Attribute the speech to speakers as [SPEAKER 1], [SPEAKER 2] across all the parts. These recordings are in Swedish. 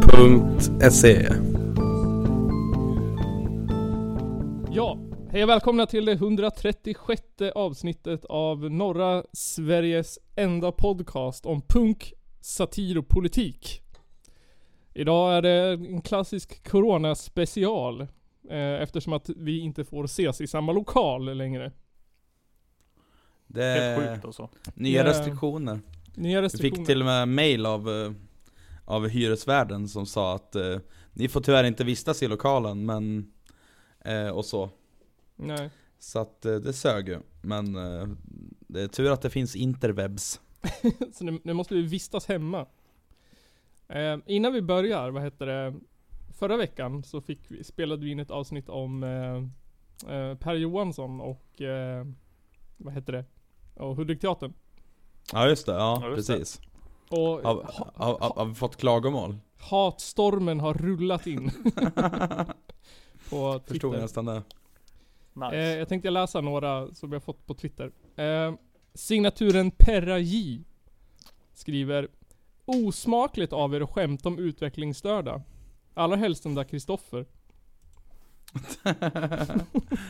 [SPEAKER 1] Källarpodden.se
[SPEAKER 2] Ja, hej och välkomna till det 136 avsnittet av norra Sveriges enda podcast om punk, satir och politik. Idag är det en klassisk coronaspecial eh, eftersom att vi inte får ses i samma lokal längre.
[SPEAKER 1] Det
[SPEAKER 3] Helt
[SPEAKER 1] är
[SPEAKER 3] sjukt alltså.
[SPEAKER 1] nya
[SPEAKER 2] Ja.
[SPEAKER 1] restriktioner.
[SPEAKER 2] Nya
[SPEAKER 1] Vi fick
[SPEAKER 2] restriktioner.
[SPEAKER 1] till och med mail av, eh, av hyresvärden som sa att eh, ni får tyvärr inte vistas i lokalen men eh, och så.
[SPEAKER 2] Nej.
[SPEAKER 1] Så att eh, det sög ju. Men eh, det är tur att det finns interwebs.
[SPEAKER 2] Så nu, nu måste vi vistas hemma. Eh, innan vi börjar, vad heter det? Förra veckan så fick vi, spelade vi in ett avsnitt om eh, eh, Per Johansson och eh, vad heter det? Och Hudikteatern.
[SPEAKER 1] Ja just det, ja,
[SPEAKER 3] Ja, just det.
[SPEAKER 1] precis.
[SPEAKER 2] Och
[SPEAKER 1] Har,
[SPEAKER 2] ha,
[SPEAKER 1] har, har, har vi fått klagomål?
[SPEAKER 2] hatstormen har rullat in på
[SPEAKER 1] Förstod
[SPEAKER 2] Twitter.
[SPEAKER 1] nästan det.
[SPEAKER 3] Nice.
[SPEAKER 2] Eh, jag tänkte läsa några som jag fått på Twitter. Eh, signaturen Perra J skriver Osmakligt av er att skämta om utvecklingsstörda. Allra helst den där Kristoffer.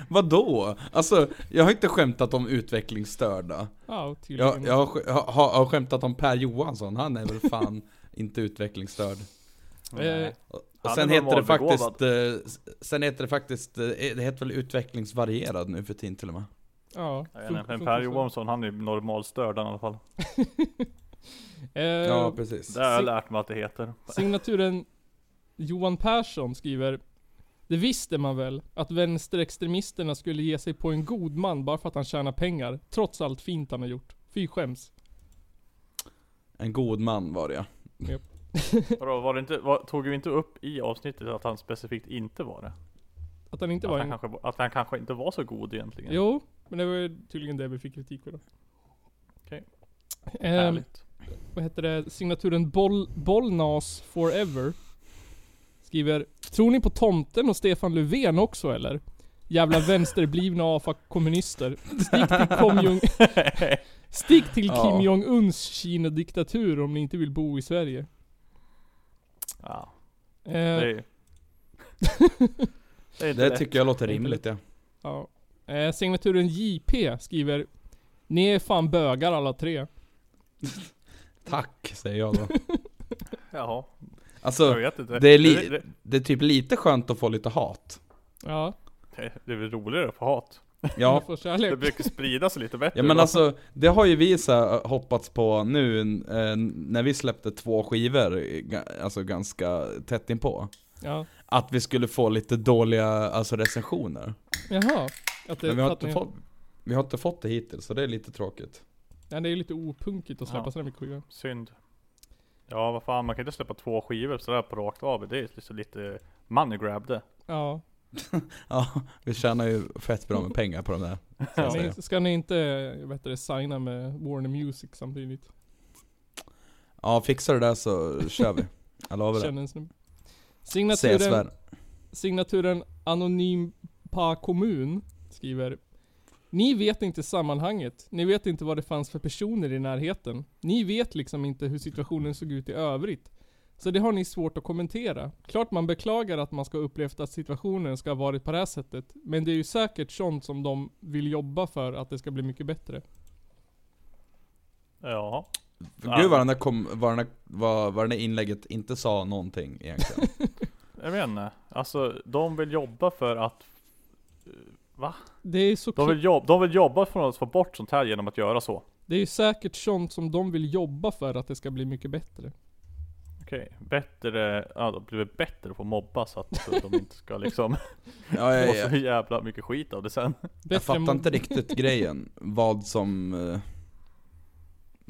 [SPEAKER 1] Vadå? Alltså, jag har inte skämtat om utvecklingsstörda.
[SPEAKER 2] Ja, tydligen.
[SPEAKER 1] Jag, jag, har, sk- jag har, har skämtat om Per Johansson, han är väl fan inte utvecklingsstörd.
[SPEAKER 2] eh,
[SPEAKER 1] Och
[SPEAKER 3] Han
[SPEAKER 1] sen
[SPEAKER 3] är
[SPEAKER 1] heter, det
[SPEAKER 3] normalbegåvad.
[SPEAKER 1] faktiskt, eh, s- sen heter det faktiskt, eh, det heter väl utvecklingsvarierad nu för tiden till och med?
[SPEAKER 2] ja,
[SPEAKER 3] Ja,
[SPEAKER 2] fun-
[SPEAKER 3] nej, men
[SPEAKER 2] fun-
[SPEAKER 3] Per
[SPEAKER 2] fun-
[SPEAKER 3] Johansson han är ju normalstörd i alla fall.
[SPEAKER 2] Eh,
[SPEAKER 1] Ja, precis.
[SPEAKER 3] Det har jag
[SPEAKER 2] Si-
[SPEAKER 3] lärt mig att det heter.
[SPEAKER 2] signaturen Johan Persson skriver Det visste man väl, att vänsterextremisterna skulle ge sig på en god man bara för att han tjänar pengar. Trots allt fint han har gjort. Fy skäms.
[SPEAKER 1] En god man var det ja.
[SPEAKER 3] Vadå, var det inte, var, tog vi inte upp i avsnittet att han specifikt inte var det?
[SPEAKER 2] Att han inte
[SPEAKER 3] Att
[SPEAKER 2] var
[SPEAKER 3] han,
[SPEAKER 2] en...
[SPEAKER 3] kanske, var- att han kanske inte var så god egentligen?
[SPEAKER 2] Jo, men det var ju tydligen det vi fick kritik för då.
[SPEAKER 3] Okej.
[SPEAKER 2] Ehm,
[SPEAKER 3] Härligt.
[SPEAKER 2] vad heter det? Signaturen Boll, Bollnas Forever. Skriver, tror ni på tomten och Stefan Löfven också eller? Jävla vänsterblivna AFA-kommunister. Stick till, Kim Jong, stick till
[SPEAKER 1] Ja.
[SPEAKER 2] Kim Jong-Uns Kina-diktatur om ni inte vill bo i Sverige.
[SPEAKER 3] Ja,
[SPEAKER 2] Eh,
[SPEAKER 3] det är ju... det är
[SPEAKER 1] Det
[SPEAKER 3] inte lätt.
[SPEAKER 1] tycker jag låter rimligt ja.
[SPEAKER 2] ja. eh, signaturen JP skriver, ni är fan bögar alla tre.
[SPEAKER 1] Tack, säger jag då.
[SPEAKER 3] Jaha, jag
[SPEAKER 1] Alltså,
[SPEAKER 3] vet inte.
[SPEAKER 1] det är li-
[SPEAKER 3] det, det,
[SPEAKER 1] det är typ lite skönt att få lite hat.
[SPEAKER 2] Ja,
[SPEAKER 3] det är väl roligare att få hat?
[SPEAKER 1] Ja,
[SPEAKER 2] ni får kärlek.
[SPEAKER 3] Det brukar sprida sig lite bättre.
[SPEAKER 1] Ja men
[SPEAKER 3] då.
[SPEAKER 1] alltså, det har ju vi så här eh, hoppats på nu eh, när vi släppte två skivor, eh, ga- alltså ganska tätt inpå.
[SPEAKER 2] Ja.
[SPEAKER 1] Att vi skulle få lite dåliga alltså, recensioner.
[SPEAKER 2] Jaha. Att det,
[SPEAKER 1] men vi har,
[SPEAKER 2] att
[SPEAKER 1] inte
[SPEAKER 2] ni-
[SPEAKER 1] fått, vi har inte fått det hittills, så det är lite tråkigt.
[SPEAKER 2] Ja, det är ju lite opunkigt att släppa
[SPEAKER 3] Ja.
[SPEAKER 2] sådana mycket skivor.
[SPEAKER 3] Synd. Ja vad fan, man kan inte släppa två skivor sådär på rakt av. Det är liksom lite money grab det.
[SPEAKER 2] Ja.
[SPEAKER 1] Ja, vi tjänar ju fett bra med pengar på de där. ska jag
[SPEAKER 2] Ska
[SPEAKER 1] säga.
[SPEAKER 2] ni, ska ni inte, eh, vad heter det, signa med Warner Music samtidigt?
[SPEAKER 1] Ja, fixar du det där så kör vi. Jag lovar det.
[SPEAKER 2] Känner en snubbe.
[SPEAKER 1] Ses
[SPEAKER 2] Signaturen,
[SPEAKER 1] väl.
[SPEAKER 2] signaturen Anonym Pa kommun skriver Ni vet inte sammanhanget. Ni vet inte vad det fanns för personer i närheten. Ni vet liksom inte hur situationen såg ut i övrigt. Så det har ni svårt att kommentera. Klart man beklagar att man ska ha upplevt att situationen ska ha varit på det här sättet. Men det är ju säkert sånt som de vill jobba för att det ska bli mycket bättre.
[SPEAKER 3] Ja.
[SPEAKER 1] Gud vad den där, kom, vad den där, vad, vad den där inlägget inte sa någonting egentligen.
[SPEAKER 3] Jag vet inte. Alltså de vill jobba för att
[SPEAKER 2] Det är så
[SPEAKER 3] de vill, jobb, de vill jobba för att få bort sånt här genom att göra så.
[SPEAKER 2] Det är ju säkert sånt som de vill jobba för att det ska bli mycket bättre.
[SPEAKER 3] Okej, bättre, ja de blir bättre på att mobba så att de inte ska liksom
[SPEAKER 1] Ja, ja,
[SPEAKER 3] få
[SPEAKER 1] ja.
[SPEAKER 3] så jävla mycket skit av det sen.
[SPEAKER 2] Bättre
[SPEAKER 1] Jag fattar
[SPEAKER 2] än-
[SPEAKER 1] inte riktigt grejen, vad som... eh,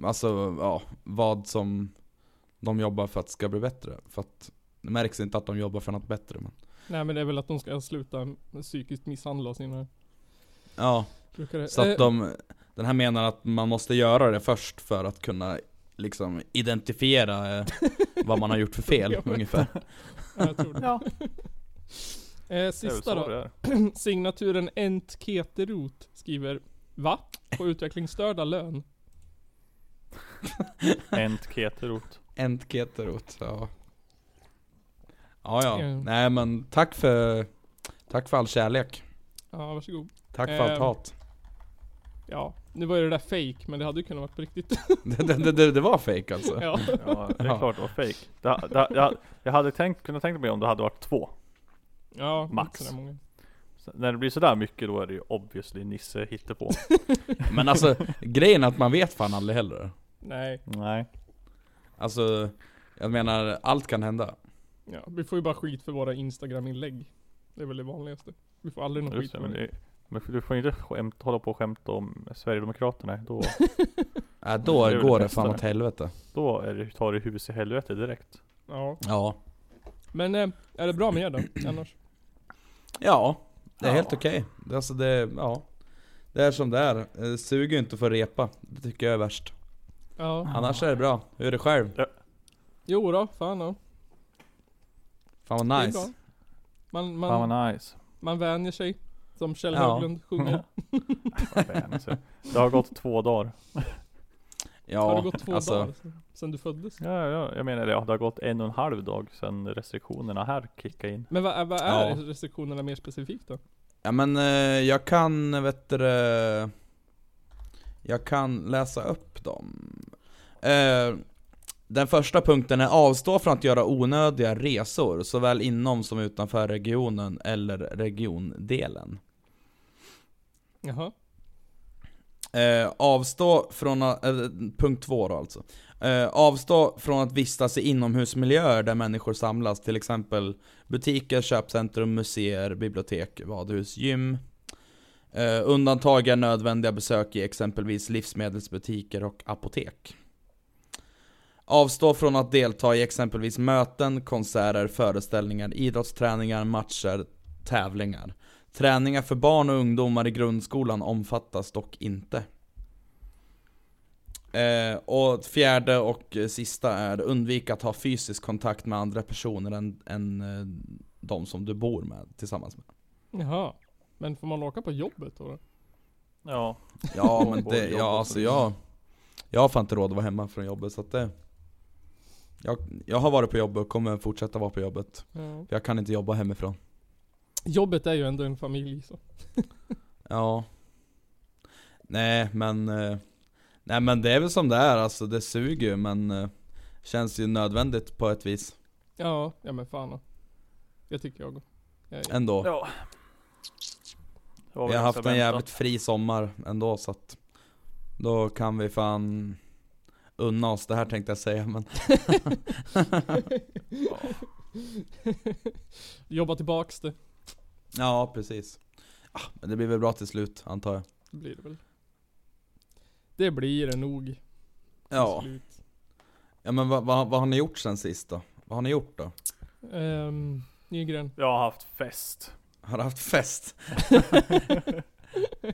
[SPEAKER 1] Alltså, ja, vad som de jobbar för att ska bli bättre. För att det märks inte att de jobbar för något bättre. Men,
[SPEAKER 2] Nej men det är väl att de ska sluta psykiskt misshandla sina
[SPEAKER 1] ja,
[SPEAKER 2] brukare.
[SPEAKER 1] så att de... Den här menar att man måste göra det först för att kunna liksom identifiera eh, vad man har gjort för fel, ungefär.
[SPEAKER 2] ja, jag tror det.
[SPEAKER 3] Ja,
[SPEAKER 2] Eh,
[SPEAKER 3] det är väl
[SPEAKER 2] sista
[SPEAKER 3] så
[SPEAKER 2] då.
[SPEAKER 3] det är.
[SPEAKER 2] Signaturen Ent Keterot skriver Va? På utvecklingsstörda lön?
[SPEAKER 3] Ent Keterot.
[SPEAKER 1] Entketerot, ja. Ja, ja.
[SPEAKER 2] Ja.
[SPEAKER 1] Nej men tack för, tack för all kärlek.
[SPEAKER 2] Ja, varsågod.
[SPEAKER 1] Tack för allt
[SPEAKER 2] Ehm.
[SPEAKER 1] hat.
[SPEAKER 2] Ja, nu var ju det där fake men det hade ju kunnat vara på riktigt.
[SPEAKER 1] Det, det, det- det, det var fake alltså?
[SPEAKER 2] ja.
[SPEAKER 3] Ja, det är
[SPEAKER 1] Ja.
[SPEAKER 3] klart det var fake. Det, det, jag, jag hade tänkt, kunnat tänka mig om det hade varit två.
[SPEAKER 2] ja,
[SPEAKER 3] Max.
[SPEAKER 2] inte sådär många.
[SPEAKER 3] Så när det blir sådär mycket då är det ju obviously Nisse hittepå.
[SPEAKER 1] Men alltså, grejen är att man vet fan aldrig heller.
[SPEAKER 2] Nej,
[SPEAKER 3] Nej.
[SPEAKER 1] Alltså, jag menar, allt kan hända.
[SPEAKER 2] ja, vi får ju bara skit för våra Instagram-inlägg. Det är väl det vanligaste. Vi får aldrig någon skit
[SPEAKER 3] Just det,
[SPEAKER 2] för
[SPEAKER 3] men,
[SPEAKER 2] det.
[SPEAKER 3] det, men du får inte skämt, hålla på och skämta om Sverigedemokraterna. Då,
[SPEAKER 1] Äh, då
[SPEAKER 3] Det är väl
[SPEAKER 1] går
[SPEAKER 3] det
[SPEAKER 1] det fan
[SPEAKER 3] bästa.
[SPEAKER 1] åt helvete.
[SPEAKER 3] då är det, tar det hus i helvete direkt.
[SPEAKER 2] Ja.
[SPEAKER 1] Ja.
[SPEAKER 2] Men eh, är det bra med er då? Annars?
[SPEAKER 1] Ja, det är
[SPEAKER 3] Ja.
[SPEAKER 1] helt okej. Det, alltså det, ja. det är som det är. Det suger ju inte för repa. Det tycker jag är värst.
[SPEAKER 2] Ja.
[SPEAKER 1] Annars är det bra. Hur är det själv?
[SPEAKER 2] Jo då, fan då.
[SPEAKER 1] Fan
[SPEAKER 2] Det är
[SPEAKER 1] vad
[SPEAKER 2] bra.
[SPEAKER 1] nice.
[SPEAKER 2] Man, man,
[SPEAKER 3] Fan vad nice.
[SPEAKER 2] man vänjer sig. Som Kjell
[SPEAKER 1] Ja.
[SPEAKER 2] Höglund sjunger.
[SPEAKER 3] Vad fan, alltså. Det har gått två dagar.
[SPEAKER 1] Ja,
[SPEAKER 2] Har det gått två
[SPEAKER 1] alltså,
[SPEAKER 2] dagar sen- sen du föddes?
[SPEAKER 3] Ja, ja, jag menar det. Det har gått en och en halv dag sedan restriktionerna här kickade in.
[SPEAKER 2] Men vad, är- vad är
[SPEAKER 1] Ja.
[SPEAKER 2] restriktionerna mer specifikt då?
[SPEAKER 1] Ja men eh, jag kan, vet du, det, Jag kan läsa upp dem. Eh, den första punkten är avstå från att göra onödiga resor, såväl inom som utanför regionen eller regiondelen.
[SPEAKER 2] Jaha?
[SPEAKER 1] Eh, avstå från att, eh, punkt två då alltså. Eh, avstå från att vistas i inomhusmiljöer där människor samlas, till exempel butiker, köpcentrum, museer, bibliotek, vadhus, gym. Eh, undantag är nödvändiga besök i exempelvis livsmedelsbutiker och apotek. Avstå från att delta i exempelvis möten, konserter, föreställningar, idrottsträningar, matcher, tävlingar. Träningar för barn och ungdomar i grundskolan omfattas dock inte. Eh, och fjärde och eh, sista är undvik att ha fysisk kontakt med andra personer än, än eh, de som du bor med tillsammans med.
[SPEAKER 2] Jaha. Men får man åka på jobbet då? då?
[SPEAKER 3] Ja.
[SPEAKER 1] Ja men
[SPEAKER 3] Både
[SPEAKER 1] det,
[SPEAKER 3] jobb
[SPEAKER 1] ja
[SPEAKER 3] och
[SPEAKER 1] alltså
[SPEAKER 3] så.
[SPEAKER 1] jag Jag har fan inte råd att vara hemma från jobbet så att det jag, jag har varit på jobbet och kommer fortsätta vara på jobbet.
[SPEAKER 2] Ja.
[SPEAKER 1] För jag kan inte jobba hemifrån.
[SPEAKER 2] Jobbet är ju ändå en familj så.
[SPEAKER 1] Ja. Nej men, eh, nej men det är väl som det är alltså, det suger ju men eh, Känns ju nödvändigt på ett vis
[SPEAKER 2] Ja, ja men fan då. Det tycker jag. Jag,
[SPEAKER 1] ändå.
[SPEAKER 3] ja. Det var väl
[SPEAKER 1] Vi har haft
[SPEAKER 3] ganska
[SPEAKER 1] en
[SPEAKER 3] väntat.
[SPEAKER 1] jävligt fri sommar ändå så att Då kan vi fan unna oss det här tänkte jag säga men
[SPEAKER 2] Jobba tillbaks det.
[SPEAKER 1] Ja precis. Ah, men det blir väl bra till slut antar jag.
[SPEAKER 2] Det blir det väl. Det blir det nog. till
[SPEAKER 1] Ja,
[SPEAKER 2] slut.
[SPEAKER 1] ja men vad, vad, vad har ni gjort sen sist då? Vad har ni gjort då?
[SPEAKER 2] Ehm, Nygren.
[SPEAKER 3] Jag har haft fest.
[SPEAKER 1] Har du haft fest?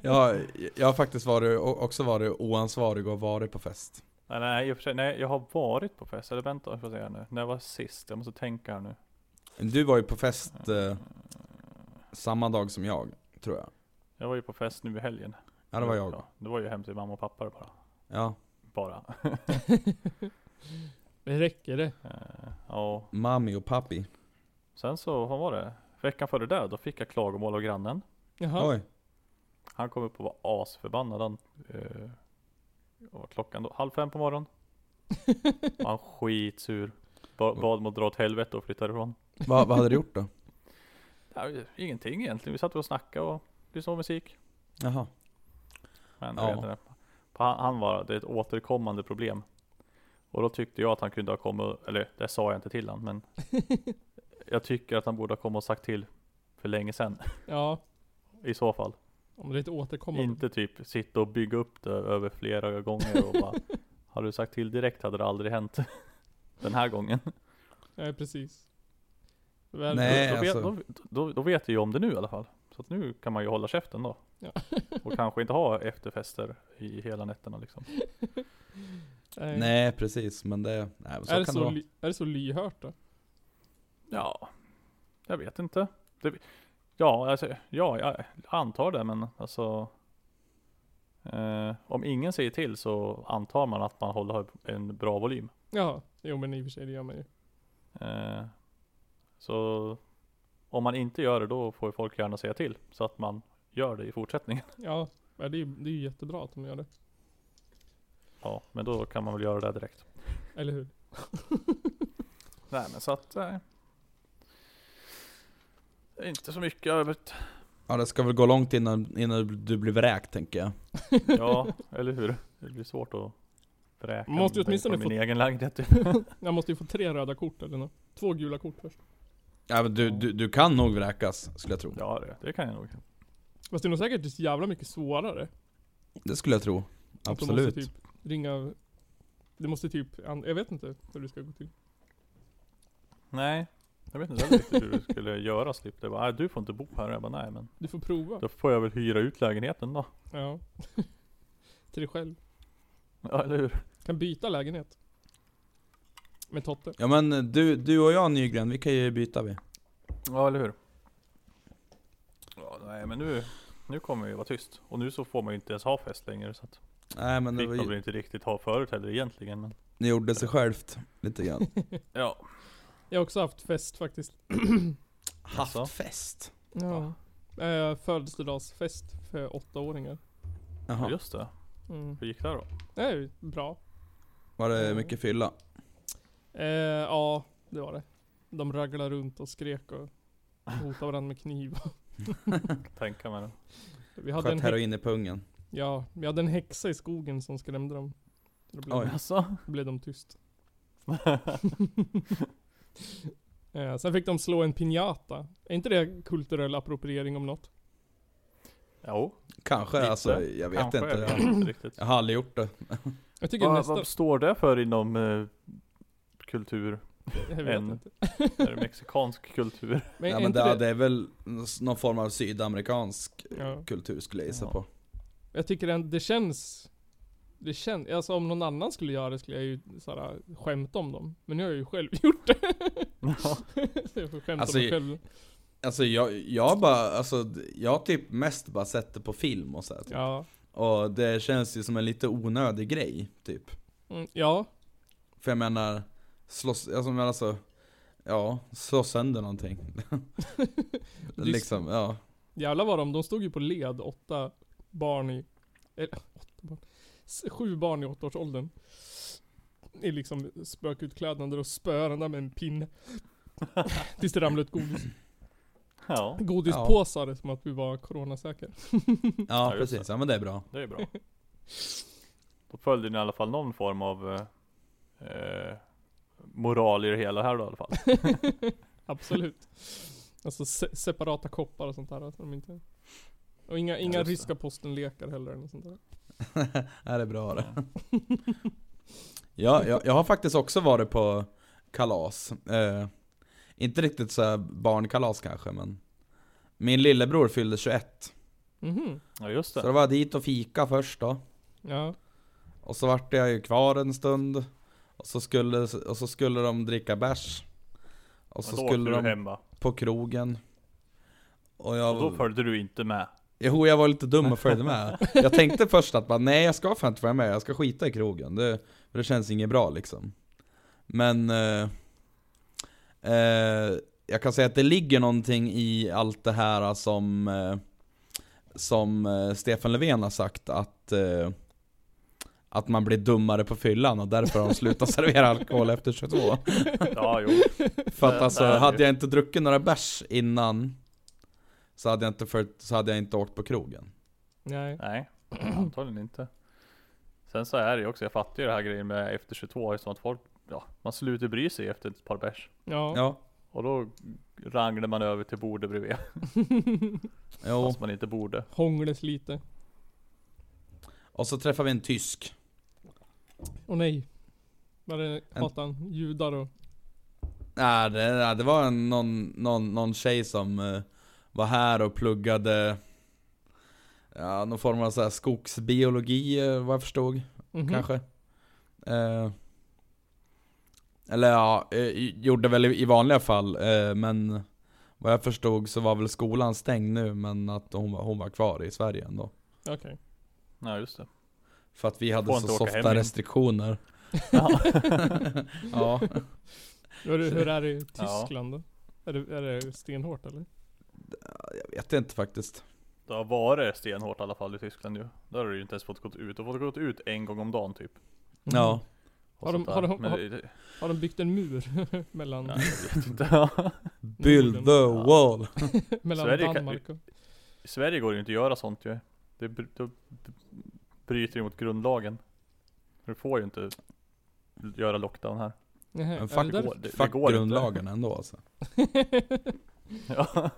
[SPEAKER 1] jag, har- jag har faktiskt varit, o- också varit oansvarig och varit på fest.
[SPEAKER 3] Nej, nej, i och för sig, nej, jag har varit på fest. Eller vänta, jag får se här nu. När var sist? Jag måste tänka här nu.
[SPEAKER 1] Du var ju på fest eh, samma dag som jag, tror jag.
[SPEAKER 3] Jag var ju på fest nu i helgen.
[SPEAKER 1] Ja det var jag.
[SPEAKER 3] det var ju hem till mamma och pappa bara.
[SPEAKER 1] Ja.
[SPEAKER 3] Bara.
[SPEAKER 2] Det räcker det.
[SPEAKER 3] Eh, Ja.
[SPEAKER 1] Mami och pappi.
[SPEAKER 3] Sen så, vad var det? Veckan före det, då fick jag klagomål av grannen.
[SPEAKER 2] Jaha.
[SPEAKER 1] Oj.
[SPEAKER 3] Han kom upp och var asförbannad. Han, eh, vad var klockan då? Halv fem på morgonen. Och han skitsur. Ba, bad mig att dra åt helvete och flytta ifrån.
[SPEAKER 1] Vad, vad hade du gjort då?
[SPEAKER 3] Ja, ingenting egentligen. Vi satt och snackade och lyssnade på musik.
[SPEAKER 1] Jaha.
[SPEAKER 3] Men
[SPEAKER 1] Ja.
[SPEAKER 3] jag vet inte. Han, han var, det är ett återkommande problem. Och då tyckte jag att han kunde ha kommit, eller det sa jag inte till han men jag tycker att han borde ha kommit och sagt till för länge sedan.
[SPEAKER 2] Ja.
[SPEAKER 3] I så fall.
[SPEAKER 2] Om det är ett återkommande.
[SPEAKER 3] Inte typ sitta och bygga upp det över flera gånger och bara Har du sagt till direkt hade det aldrig hänt Den här gången
[SPEAKER 2] Nej precis. Väl-
[SPEAKER 1] Nej,
[SPEAKER 3] då, då, vet,
[SPEAKER 1] alltså.
[SPEAKER 3] då, då, då vet vi ju om det nu i alla fall Så att nu kan man ju hålla käften då
[SPEAKER 2] Ja.
[SPEAKER 3] Och kanske inte ha efterfester i hela nätterna liksom
[SPEAKER 2] Nej.
[SPEAKER 1] Nej precis, men det, nej, så
[SPEAKER 2] är, det
[SPEAKER 1] kan
[SPEAKER 2] så
[SPEAKER 1] det vara.
[SPEAKER 2] ly- är det så lyhört då?
[SPEAKER 3] Ja Jag vet inte det, Ja alltså, ja jag antar det men alltså Eh, om ingen säger till så antar man att man håller en bra volym.
[SPEAKER 2] Jaha, jo men i och för sig det gör man ju.
[SPEAKER 3] Eh, så om man inte gör det då får ju folk gärna säga till så att man gör det i fortsättningen.
[SPEAKER 2] Ja, ja, det är ju det är ju jättebra att de gör det.
[SPEAKER 3] Ja, men då kan man väl göra det direkt.
[SPEAKER 2] Eller hur?
[SPEAKER 3] Nej men så att, eh, det är inte så mycket övrigt.
[SPEAKER 1] Ja det ska väl gå långt innan, innan du blir vräkt tänker jag.
[SPEAKER 3] Ja, eller hur? Det blir svårt att vräka
[SPEAKER 2] Man måste ju
[SPEAKER 3] mig
[SPEAKER 2] åtminstone
[SPEAKER 3] från
[SPEAKER 2] få-
[SPEAKER 3] min egen lägenhet typ.
[SPEAKER 2] Jag måste ju få tre röda kort eller något. Två gula kort först.
[SPEAKER 1] Ja, men du, du, du kan nog vräkas, skulle jag tro.
[SPEAKER 3] Ja det, det kan jag nog.
[SPEAKER 2] Fast det är nog säkert så jävla mycket svårare. Att
[SPEAKER 1] Det skulle jag tro.
[SPEAKER 2] de
[SPEAKER 1] Absolut.
[SPEAKER 2] Måste typ ringa... Det måste typ... an- Jag vet inte hur det ska gå till.
[SPEAKER 3] Nej, jag vet inte heller riktigt hur det skulle göras. Typ. Det var, nej, du får inte bo här. Jag bara, nej men
[SPEAKER 2] Du får prova.
[SPEAKER 3] då får jag väl hyra ut lägenheten då.
[SPEAKER 2] Ja. till dig själv.
[SPEAKER 3] Ja eller hur?
[SPEAKER 2] Kan byta lägenhet. Med Totte.
[SPEAKER 1] Ja men du, du och jag Nygren, vi kan ju byta vi.
[SPEAKER 3] Ja eller hur? Ja, nej men nu, nu kommer vi ju vara tyst. Och nu så får man ju inte ens ha fest längre. Så att
[SPEAKER 1] Nej men det
[SPEAKER 3] fick
[SPEAKER 1] var,
[SPEAKER 3] man väl
[SPEAKER 1] ju-
[SPEAKER 3] inte riktigt ha förut heller egentligen. Men,
[SPEAKER 1] det gjorde sig självt lite grann.
[SPEAKER 3] ja.
[SPEAKER 2] Jag har också haft fest faktiskt.
[SPEAKER 3] Alltså.
[SPEAKER 1] Haft fest.
[SPEAKER 2] Ja. Eh, födelsedagsfest för åttaåringar.
[SPEAKER 3] ja,
[SPEAKER 1] Jaha,
[SPEAKER 3] just det.
[SPEAKER 2] Mm.
[SPEAKER 3] Hur gick det då?
[SPEAKER 2] Det är ju bra.
[SPEAKER 1] var det mycket fylla?
[SPEAKER 2] Eh, ja, det var det. De raglade runt och skrek och hotade varandra med kniv.
[SPEAKER 3] Tänka mig det.
[SPEAKER 2] Vi hade, en
[SPEAKER 1] Sköt
[SPEAKER 2] hä-
[SPEAKER 1] heroin i pungen.
[SPEAKER 2] ja, vi hade en häxa i skogen som skrämde dem. Då blev,
[SPEAKER 1] Oj.
[SPEAKER 2] de,
[SPEAKER 3] Alltså.
[SPEAKER 2] blev de tyst. eh, sen fick de slå en pinjata. Är inte det kulturell appropriering om något?
[SPEAKER 3] Jo,
[SPEAKER 1] Kanske,
[SPEAKER 3] Lite.
[SPEAKER 1] alltså jag vet
[SPEAKER 3] kanske.
[SPEAKER 1] inte.
[SPEAKER 3] jag vet
[SPEAKER 1] Jag,
[SPEAKER 3] inte riktigt.
[SPEAKER 1] jag har aldrig gjort det.
[SPEAKER 2] Jag tycker
[SPEAKER 3] Vad,
[SPEAKER 2] nästan...
[SPEAKER 3] vad står det för inom eh, kultur?
[SPEAKER 2] Jag vet
[SPEAKER 3] en-
[SPEAKER 2] inte.
[SPEAKER 3] Är det mexikansk kultur?
[SPEAKER 2] Men,
[SPEAKER 1] Ja,
[SPEAKER 2] är
[SPEAKER 1] men
[SPEAKER 2] inte
[SPEAKER 1] det,
[SPEAKER 2] det,
[SPEAKER 1] det är väl någon form av sydamerikansk
[SPEAKER 2] Ja.
[SPEAKER 1] kultur skulle jag gissa
[SPEAKER 3] Ja.
[SPEAKER 1] på.
[SPEAKER 2] Jag tycker den, det känns... Det känns... Alltså om någon annan skulle göra det skulle jag ju såhär, skämta om dem. Men nu har jag ju själv gjort det.
[SPEAKER 3] Ja.
[SPEAKER 2] Så jag får skämta
[SPEAKER 1] Alltså,
[SPEAKER 2] om mig själv.
[SPEAKER 1] Alltså jag, jag bara, alltså jag har typ mest bara sett det på film och så här, typ.
[SPEAKER 2] Ja.
[SPEAKER 1] Och det känns ju som en lite onödig grej, typ.
[SPEAKER 2] Mm, ja.
[SPEAKER 1] För jag menar, slåss, alltså, men alltså Ja, slå sönder någonting. liksom, ja.
[SPEAKER 2] Jävlar vad de, de stod ju på led, åtta barn i... Eller, åtta barn. S- Sju barn i åttaårsåldern. I liksom spökutklädnader och spöade varandra med en pinne. Tills det ramlade ut godis.
[SPEAKER 3] ja,
[SPEAKER 2] godispåsar som att vi var coronasäkra.
[SPEAKER 1] Ja,
[SPEAKER 3] just
[SPEAKER 1] precis.
[SPEAKER 3] det.
[SPEAKER 1] Ja men det är bra.
[SPEAKER 3] det är bra. Då följde ni i alla fall någon form av eh, eh, moral i det hela här då i alla fall.
[SPEAKER 2] Absolut. Alltså se separata koppar och sånt där. Alltså, de inte... Och inga, inga
[SPEAKER 3] just det.
[SPEAKER 2] ryska posten-lekar heller. eller något sånt där.
[SPEAKER 1] ja, det är bra det. Ja, jag, jag har faktiskt också varit på kalas. Eh, inte riktigt så här barnkalas kanske men Min lillebror fyllde 21.
[SPEAKER 2] Mhm.
[SPEAKER 3] Ja just
[SPEAKER 1] Så
[SPEAKER 3] det.
[SPEAKER 1] det var dit och fika först då.
[SPEAKER 2] Ja.
[SPEAKER 1] Och så vart jag ju kvar en stund. Och så skulle, och så skulle de dricka bärs. Och
[SPEAKER 3] Men
[SPEAKER 1] så
[SPEAKER 3] då åkte
[SPEAKER 1] skulle
[SPEAKER 3] du
[SPEAKER 1] de
[SPEAKER 3] hem va?
[SPEAKER 1] på krogen. Och
[SPEAKER 3] Och då
[SPEAKER 1] jag,
[SPEAKER 3] följde du inte med.
[SPEAKER 1] jo, jag var lite dum och följde med. Jag tänkte först att bara, nej jag ska fan inte vara med, jag ska skita i krogen. Det, för det känns inget bra liksom. Men eh, eh, jag kan säga att det ligger någonting i allt det här eh, som, eh, som eh, Stefan Löfven har sagt att eh, att man blir dummare på fyllan och därför har de slutat servera alkohol efter 22.
[SPEAKER 3] Ja jo.
[SPEAKER 1] För
[SPEAKER 3] Det-
[SPEAKER 1] att
[SPEAKER 3] det
[SPEAKER 1] alltså,
[SPEAKER 3] är det.
[SPEAKER 1] hade jag inte druckit några bärs innan så hade, jag inte följt, så hade jag inte åkt på krogen.
[SPEAKER 2] Nej.
[SPEAKER 3] Nej, antagligen inte. Sen så är det ju också, jag fattar ju det här grejen med efter 22 eftersom att folk, ja, man slutar bry sig efter ett par bärs.
[SPEAKER 2] Ja.
[SPEAKER 1] Ja,
[SPEAKER 3] Och då ranglar man över till bordet bredvid.
[SPEAKER 1] jo.
[SPEAKER 3] Fast man inte borde.
[SPEAKER 2] Hångles lite.
[SPEAKER 1] Och så träffade vi en tysk.
[SPEAKER 2] Och nej. Vad är det?
[SPEAKER 1] En-
[SPEAKER 2] Hatar han judar och...
[SPEAKER 1] Nej, det, nej, det var en, någon, någon, någon tjej som eh, var här och pluggade ja, någon form av så här skogsbiologi, eh, vad jag förstod.
[SPEAKER 2] Mhm.
[SPEAKER 1] Kanske. Eh, eller ja, eh, gjorde väl i i vanliga fall, eh, men vad jag förstod så var väl skolan stängd nu, men att hon var, hon var kvar i Sverige ändå.
[SPEAKER 2] Okej.
[SPEAKER 3] Ja just det.
[SPEAKER 1] För att vi hade
[SPEAKER 3] Får
[SPEAKER 1] så
[SPEAKER 3] inte åka hem
[SPEAKER 1] softa
[SPEAKER 3] igen.
[SPEAKER 1] restriktioner.
[SPEAKER 3] Ja.
[SPEAKER 1] ja.
[SPEAKER 2] Hur, hur är det i
[SPEAKER 3] Ja.
[SPEAKER 2] Tyskland då? Är det, är det stenhårt eller?
[SPEAKER 1] Jag vet inte faktiskt.
[SPEAKER 3] Det har varit stenhårt i alla fall i Tyskland ju. Där har du ju inte ens fått gå ut. Du har fått gå ut en gång om dagen typ.
[SPEAKER 1] Ja.
[SPEAKER 3] Och
[SPEAKER 2] Har de-
[SPEAKER 3] sånt där.
[SPEAKER 2] har de-
[SPEAKER 3] Men
[SPEAKER 2] har-
[SPEAKER 3] det- det-
[SPEAKER 2] Mhm. Har de byggt en mur mellan,
[SPEAKER 3] Nej, jag vet inte.
[SPEAKER 1] Build the
[SPEAKER 3] Mm. Ja.
[SPEAKER 1] wall.
[SPEAKER 2] mellan
[SPEAKER 3] så är det ju ka-
[SPEAKER 2] Danmark och...
[SPEAKER 3] I Sverige går det ju inte att göra sånt ju. Det br- då bryter ju mot grundlagen. Du får ju inte göra lockdown här.
[SPEAKER 2] Nähä,
[SPEAKER 1] Men
[SPEAKER 2] är det
[SPEAKER 1] fuck,
[SPEAKER 2] där?
[SPEAKER 3] går- det- det
[SPEAKER 1] fuck
[SPEAKER 3] går inte.
[SPEAKER 1] grundlagen ändå alltså.
[SPEAKER 3] Ja.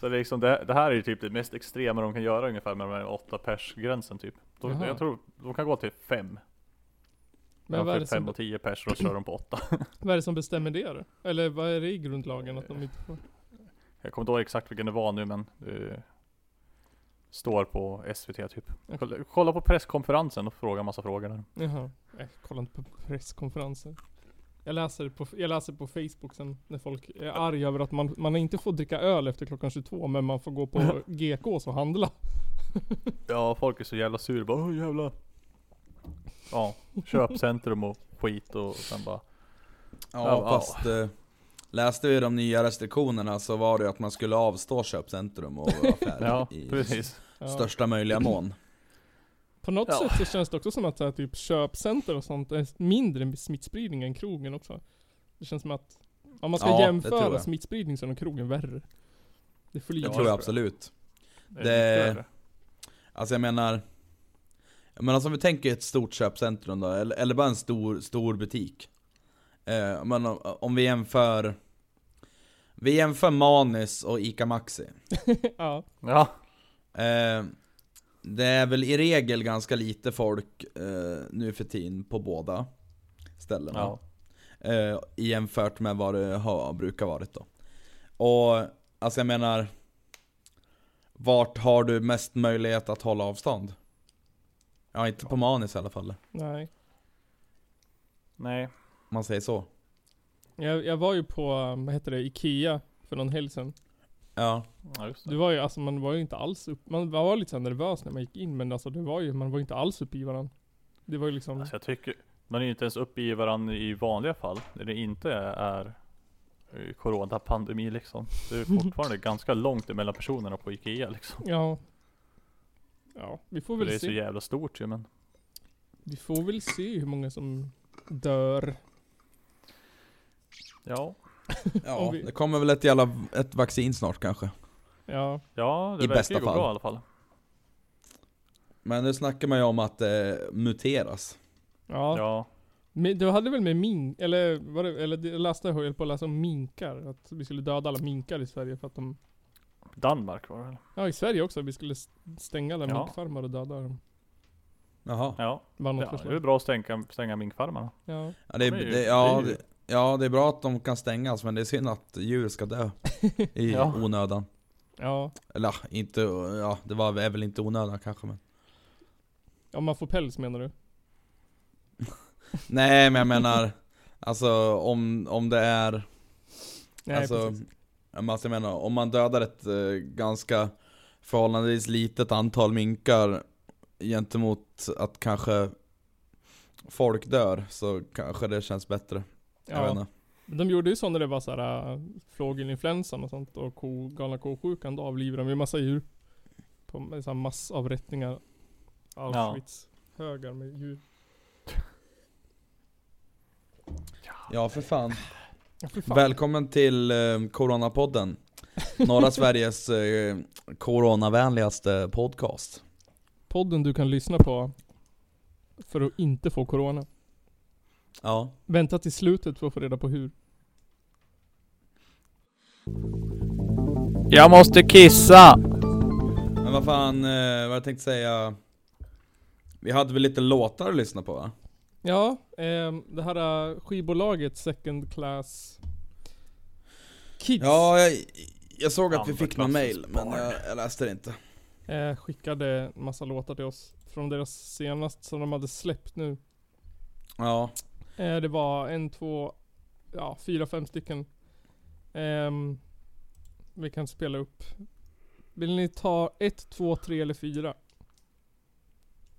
[SPEAKER 3] Så det, är liksom det, det här är ju typ det mest extrema de kan göra ungefär med de här 8 pers gränsen typ. De,
[SPEAKER 2] Jaha.
[SPEAKER 3] jag tror de kan gå till 5.
[SPEAKER 2] Men vad är, det
[SPEAKER 3] fem
[SPEAKER 2] som,
[SPEAKER 3] och 10 pers och då kör de på 8.
[SPEAKER 2] vad är det som bestämmer det då? Eller vad är det i grundlagen att de inte får?
[SPEAKER 3] Jag kommer inte ihåg exakt vilken det var nu men det står på SVT typ. Kolla, kolla på presskonferensen och fråga massa frågor där.
[SPEAKER 2] Jaha. Jag kollar inte på presskonferenser. Jag läser på, jag läser på Facebook sen när folk är arga över att man, man inte får dricka öl efter klockan 22 men man får gå på GKs och handla.
[SPEAKER 3] Ja, folk är så jävla sur bara "Åh, jävla Ja, köpcentrum och skit och sen bara
[SPEAKER 1] Ja,
[SPEAKER 3] Ja,
[SPEAKER 1] fast eh, läste vi de nya restriktionerna så var det ju att man skulle avstå köpcentrum och affärer
[SPEAKER 3] Ja,
[SPEAKER 1] i
[SPEAKER 3] precis.
[SPEAKER 2] Ja.
[SPEAKER 1] största möjliga mån.
[SPEAKER 2] På något
[SPEAKER 3] Ja.
[SPEAKER 2] sätt så känns det också som att så här, typ köpcenter och sånt är mindre smittspridning än krogen också. Det känns som att om man ska
[SPEAKER 1] Ja, det tror
[SPEAKER 2] jämföra
[SPEAKER 1] jag.
[SPEAKER 2] smittspridning så är nog krogen värre. Det
[SPEAKER 1] Det
[SPEAKER 2] flyger.
[SPEAKER 1] tror
[SPEAKER 3] tror
[SPEAKER 1] jag
[SPEAKER 3] jag.
[SPEAKER 1] absolut.
[SPEAKER 3] Det är
[SPEAKER 1] Det-
[SPEAKER 3] mycket värre.
[SPEAKER 1] Alltså jag menar Jag menar som vi tänker ett stort köpcentrum då, eller, eller bara en stor, stor butik eh, Men om, om vi jämför Vi jämför Manis och Ica Maxi
[SPEAKER 2] ja.
[SPEAKER 3] Ja,
[SPEAKER 1] eh, Det är väl i regel ganska lite folk eh, nu för tiden på båda ställena
[SPEAKER 3] ja.
[SPEAKER 1] eh, Jämfört med vad det har, brukar varit då Och alltså jag menar Vart har du mest möjlighet att hålla avstånd? Ja inte på Manis i alla fall
[SPEAKER 2] Nej.
[SPEAKER 3] Nej.
[SPEAKER 1] om man säger så
[SPEAKER 2] Jag, jag var ju på, um, vad heter det, Ikea för någon helg sedan.
[SPEAKER 1] Ja,
[SPEAKER 3] Ja, just
[SPEAKER 2] Det
[SPEAKER 3] det.
[SPEAKER 2] var ju, alltså man var ju inte alls upp, man var lite så här nervös när man gick in men alltså det var ju, man var ju inte alls uppe i varandra. Det var ju liksom,
[SPEAKER 3] Alltså jag tycker, man är ju inte ens uppe i varandra i vanliga fall. När det inte är eh, Coronapandemi liksom. Det är fortfarande ganska långt emellan personerna på Ikea liksom.
[SPEAKER 2] ja. Ja, vi får
[SPEAKER 3] För det är
[SPEAKER 2] väl
[SPEAKER 3] så
[SPEAKER 2] se.
[SPEAKER 3] jävla stort ju men.
[SPEAKER 2] Vi får väl se hur många som dör.
[SPEAKER 3] Ja.
[SPEAKER 1] ja
[SPEAKER 2] Om vi-
[SPEAKER 1] det kommer väl ett jävla ett vaccin snart kanske
[SPEAKER 2] Ja,
[SPEAKER 3] Ja, det
[SPEAKER 1] I
[SPEAKER 3] verkar
[SPEAKER 1] bästa
[SPEAKER 3] ju gå
[SPEAKER 1] fall.
[SPEAKER 3] bra i alla fall.
[SPEAKER 1] Men nu snackar man ju om att det muteras
[SPEAKER 2] ja.
[SPEAKER 3] Ja.
[SPEAKER 2] Men du hade väl med mink, eller var det, eller det- jag läste, jag höll på att läsa om minkar. Att vi skulle döda alla minkar i Sverige för att de,
[SPEAKER 3] Danmark var det väl?
[SPEAKER 2] ja i Sverige också, vi skulle s- stänga alla
[SPEAKER 3] Ja.
[SPEAKER 2] minkfarmar och döda dem.
[SPEAKER 1] Jaha
[SPEAKER 3] Ja.
[SPEAKER 2] Var något
[SPEAKER 3] ja det är väl
[SPEAKER 2] förslag.
[SPEAKER 3] bra att stänga, stänga minkfarmarna.
[SPEAKER 2] Ja.
[SPEAKER 1] ja, det, är-
[SPEAKER 3] De är ju-
[SPEAKER 1] det, ja,
[SPEAKER 3] det är ju-
[SPEAKER 1] det, ja det är bra att de kan stängas men det är synd att djur ska dö I
[SPEAKER 3] Ja.
[SPEAKER 1] onödan
[SPEAKER 2] ja.
[SPEAKER 1] Eller ja, inte, ja det var, är väl inte onödan kanske men
[SPEAKER 2] Om man får päls menar du?
[SPEAKER 1] Nej men jag menar Alltså om, om det är
[SPEAKER 2] Nej,
[SPEAKER 1] alltså,
[SPEAKER 2] precis.
[SPEAKER 1] ja, men alltså jag menar, om man dödar ett eh, ganska förhållandevis litet antal minkar gentemot att kanske folk dör så kanske det känns bättre. Jag vet
[SPEAKER 2] Ja.
[SPEAKER 1] inte.
[SPEAKER 2] De gjorde ju så när det var såhär äh, fågelinfluensan och sånt och ko, galna ko-sjukan. Då avlivade de ju massa djur. På med så här massavrättningar. Auschwitz. Högar med djur.
[SPEAKER 1] Ja för fan.
[SPEAKER 2] Ja, fy fan.
[SPEAKER 1] Välkommen till eh, Coronapodden. Norra Sveriges eh, coronavänligaste podcast.
[SPEAKER 2] Podden du kan lyssna på för att inte få corona.
[SPEAKER 1] Ja.
[SPEAKER 2] Vänta till slutet för att få reda på hur.
[SPEAKER 3] Jag måste kissa!
[SPEAKER 1] Men vad fan, eh, vad jag tänkte säga. Vi hade väl lite låtar att lyssna på va?
[SPEAKER 2] Ja, ehm, det här äh, skivbolaget Second Class Kids
[SPEAKER 1] Ja, jag, jag såg att vi
[SPEAKER 3] Andra
[SPEAKER 1] fick någon
[SPEAKER 3] klassens
[SPEAKER 1] mail men
[SPEAKER 3] barn.
[SPEAKER 1] jag, jag läste det inte.
[SPEAKER 2] eh, skickade en massa låtar till oss. Från deras senaste som de hade släppt nu.
[SPEAKER 1] Ja,
[SPEAKER 2] Eh, det var en, två, ja fyra, fem stycken. Ehm, vi kan spela upp. Vill ni ta ett, två, tre eller fyra?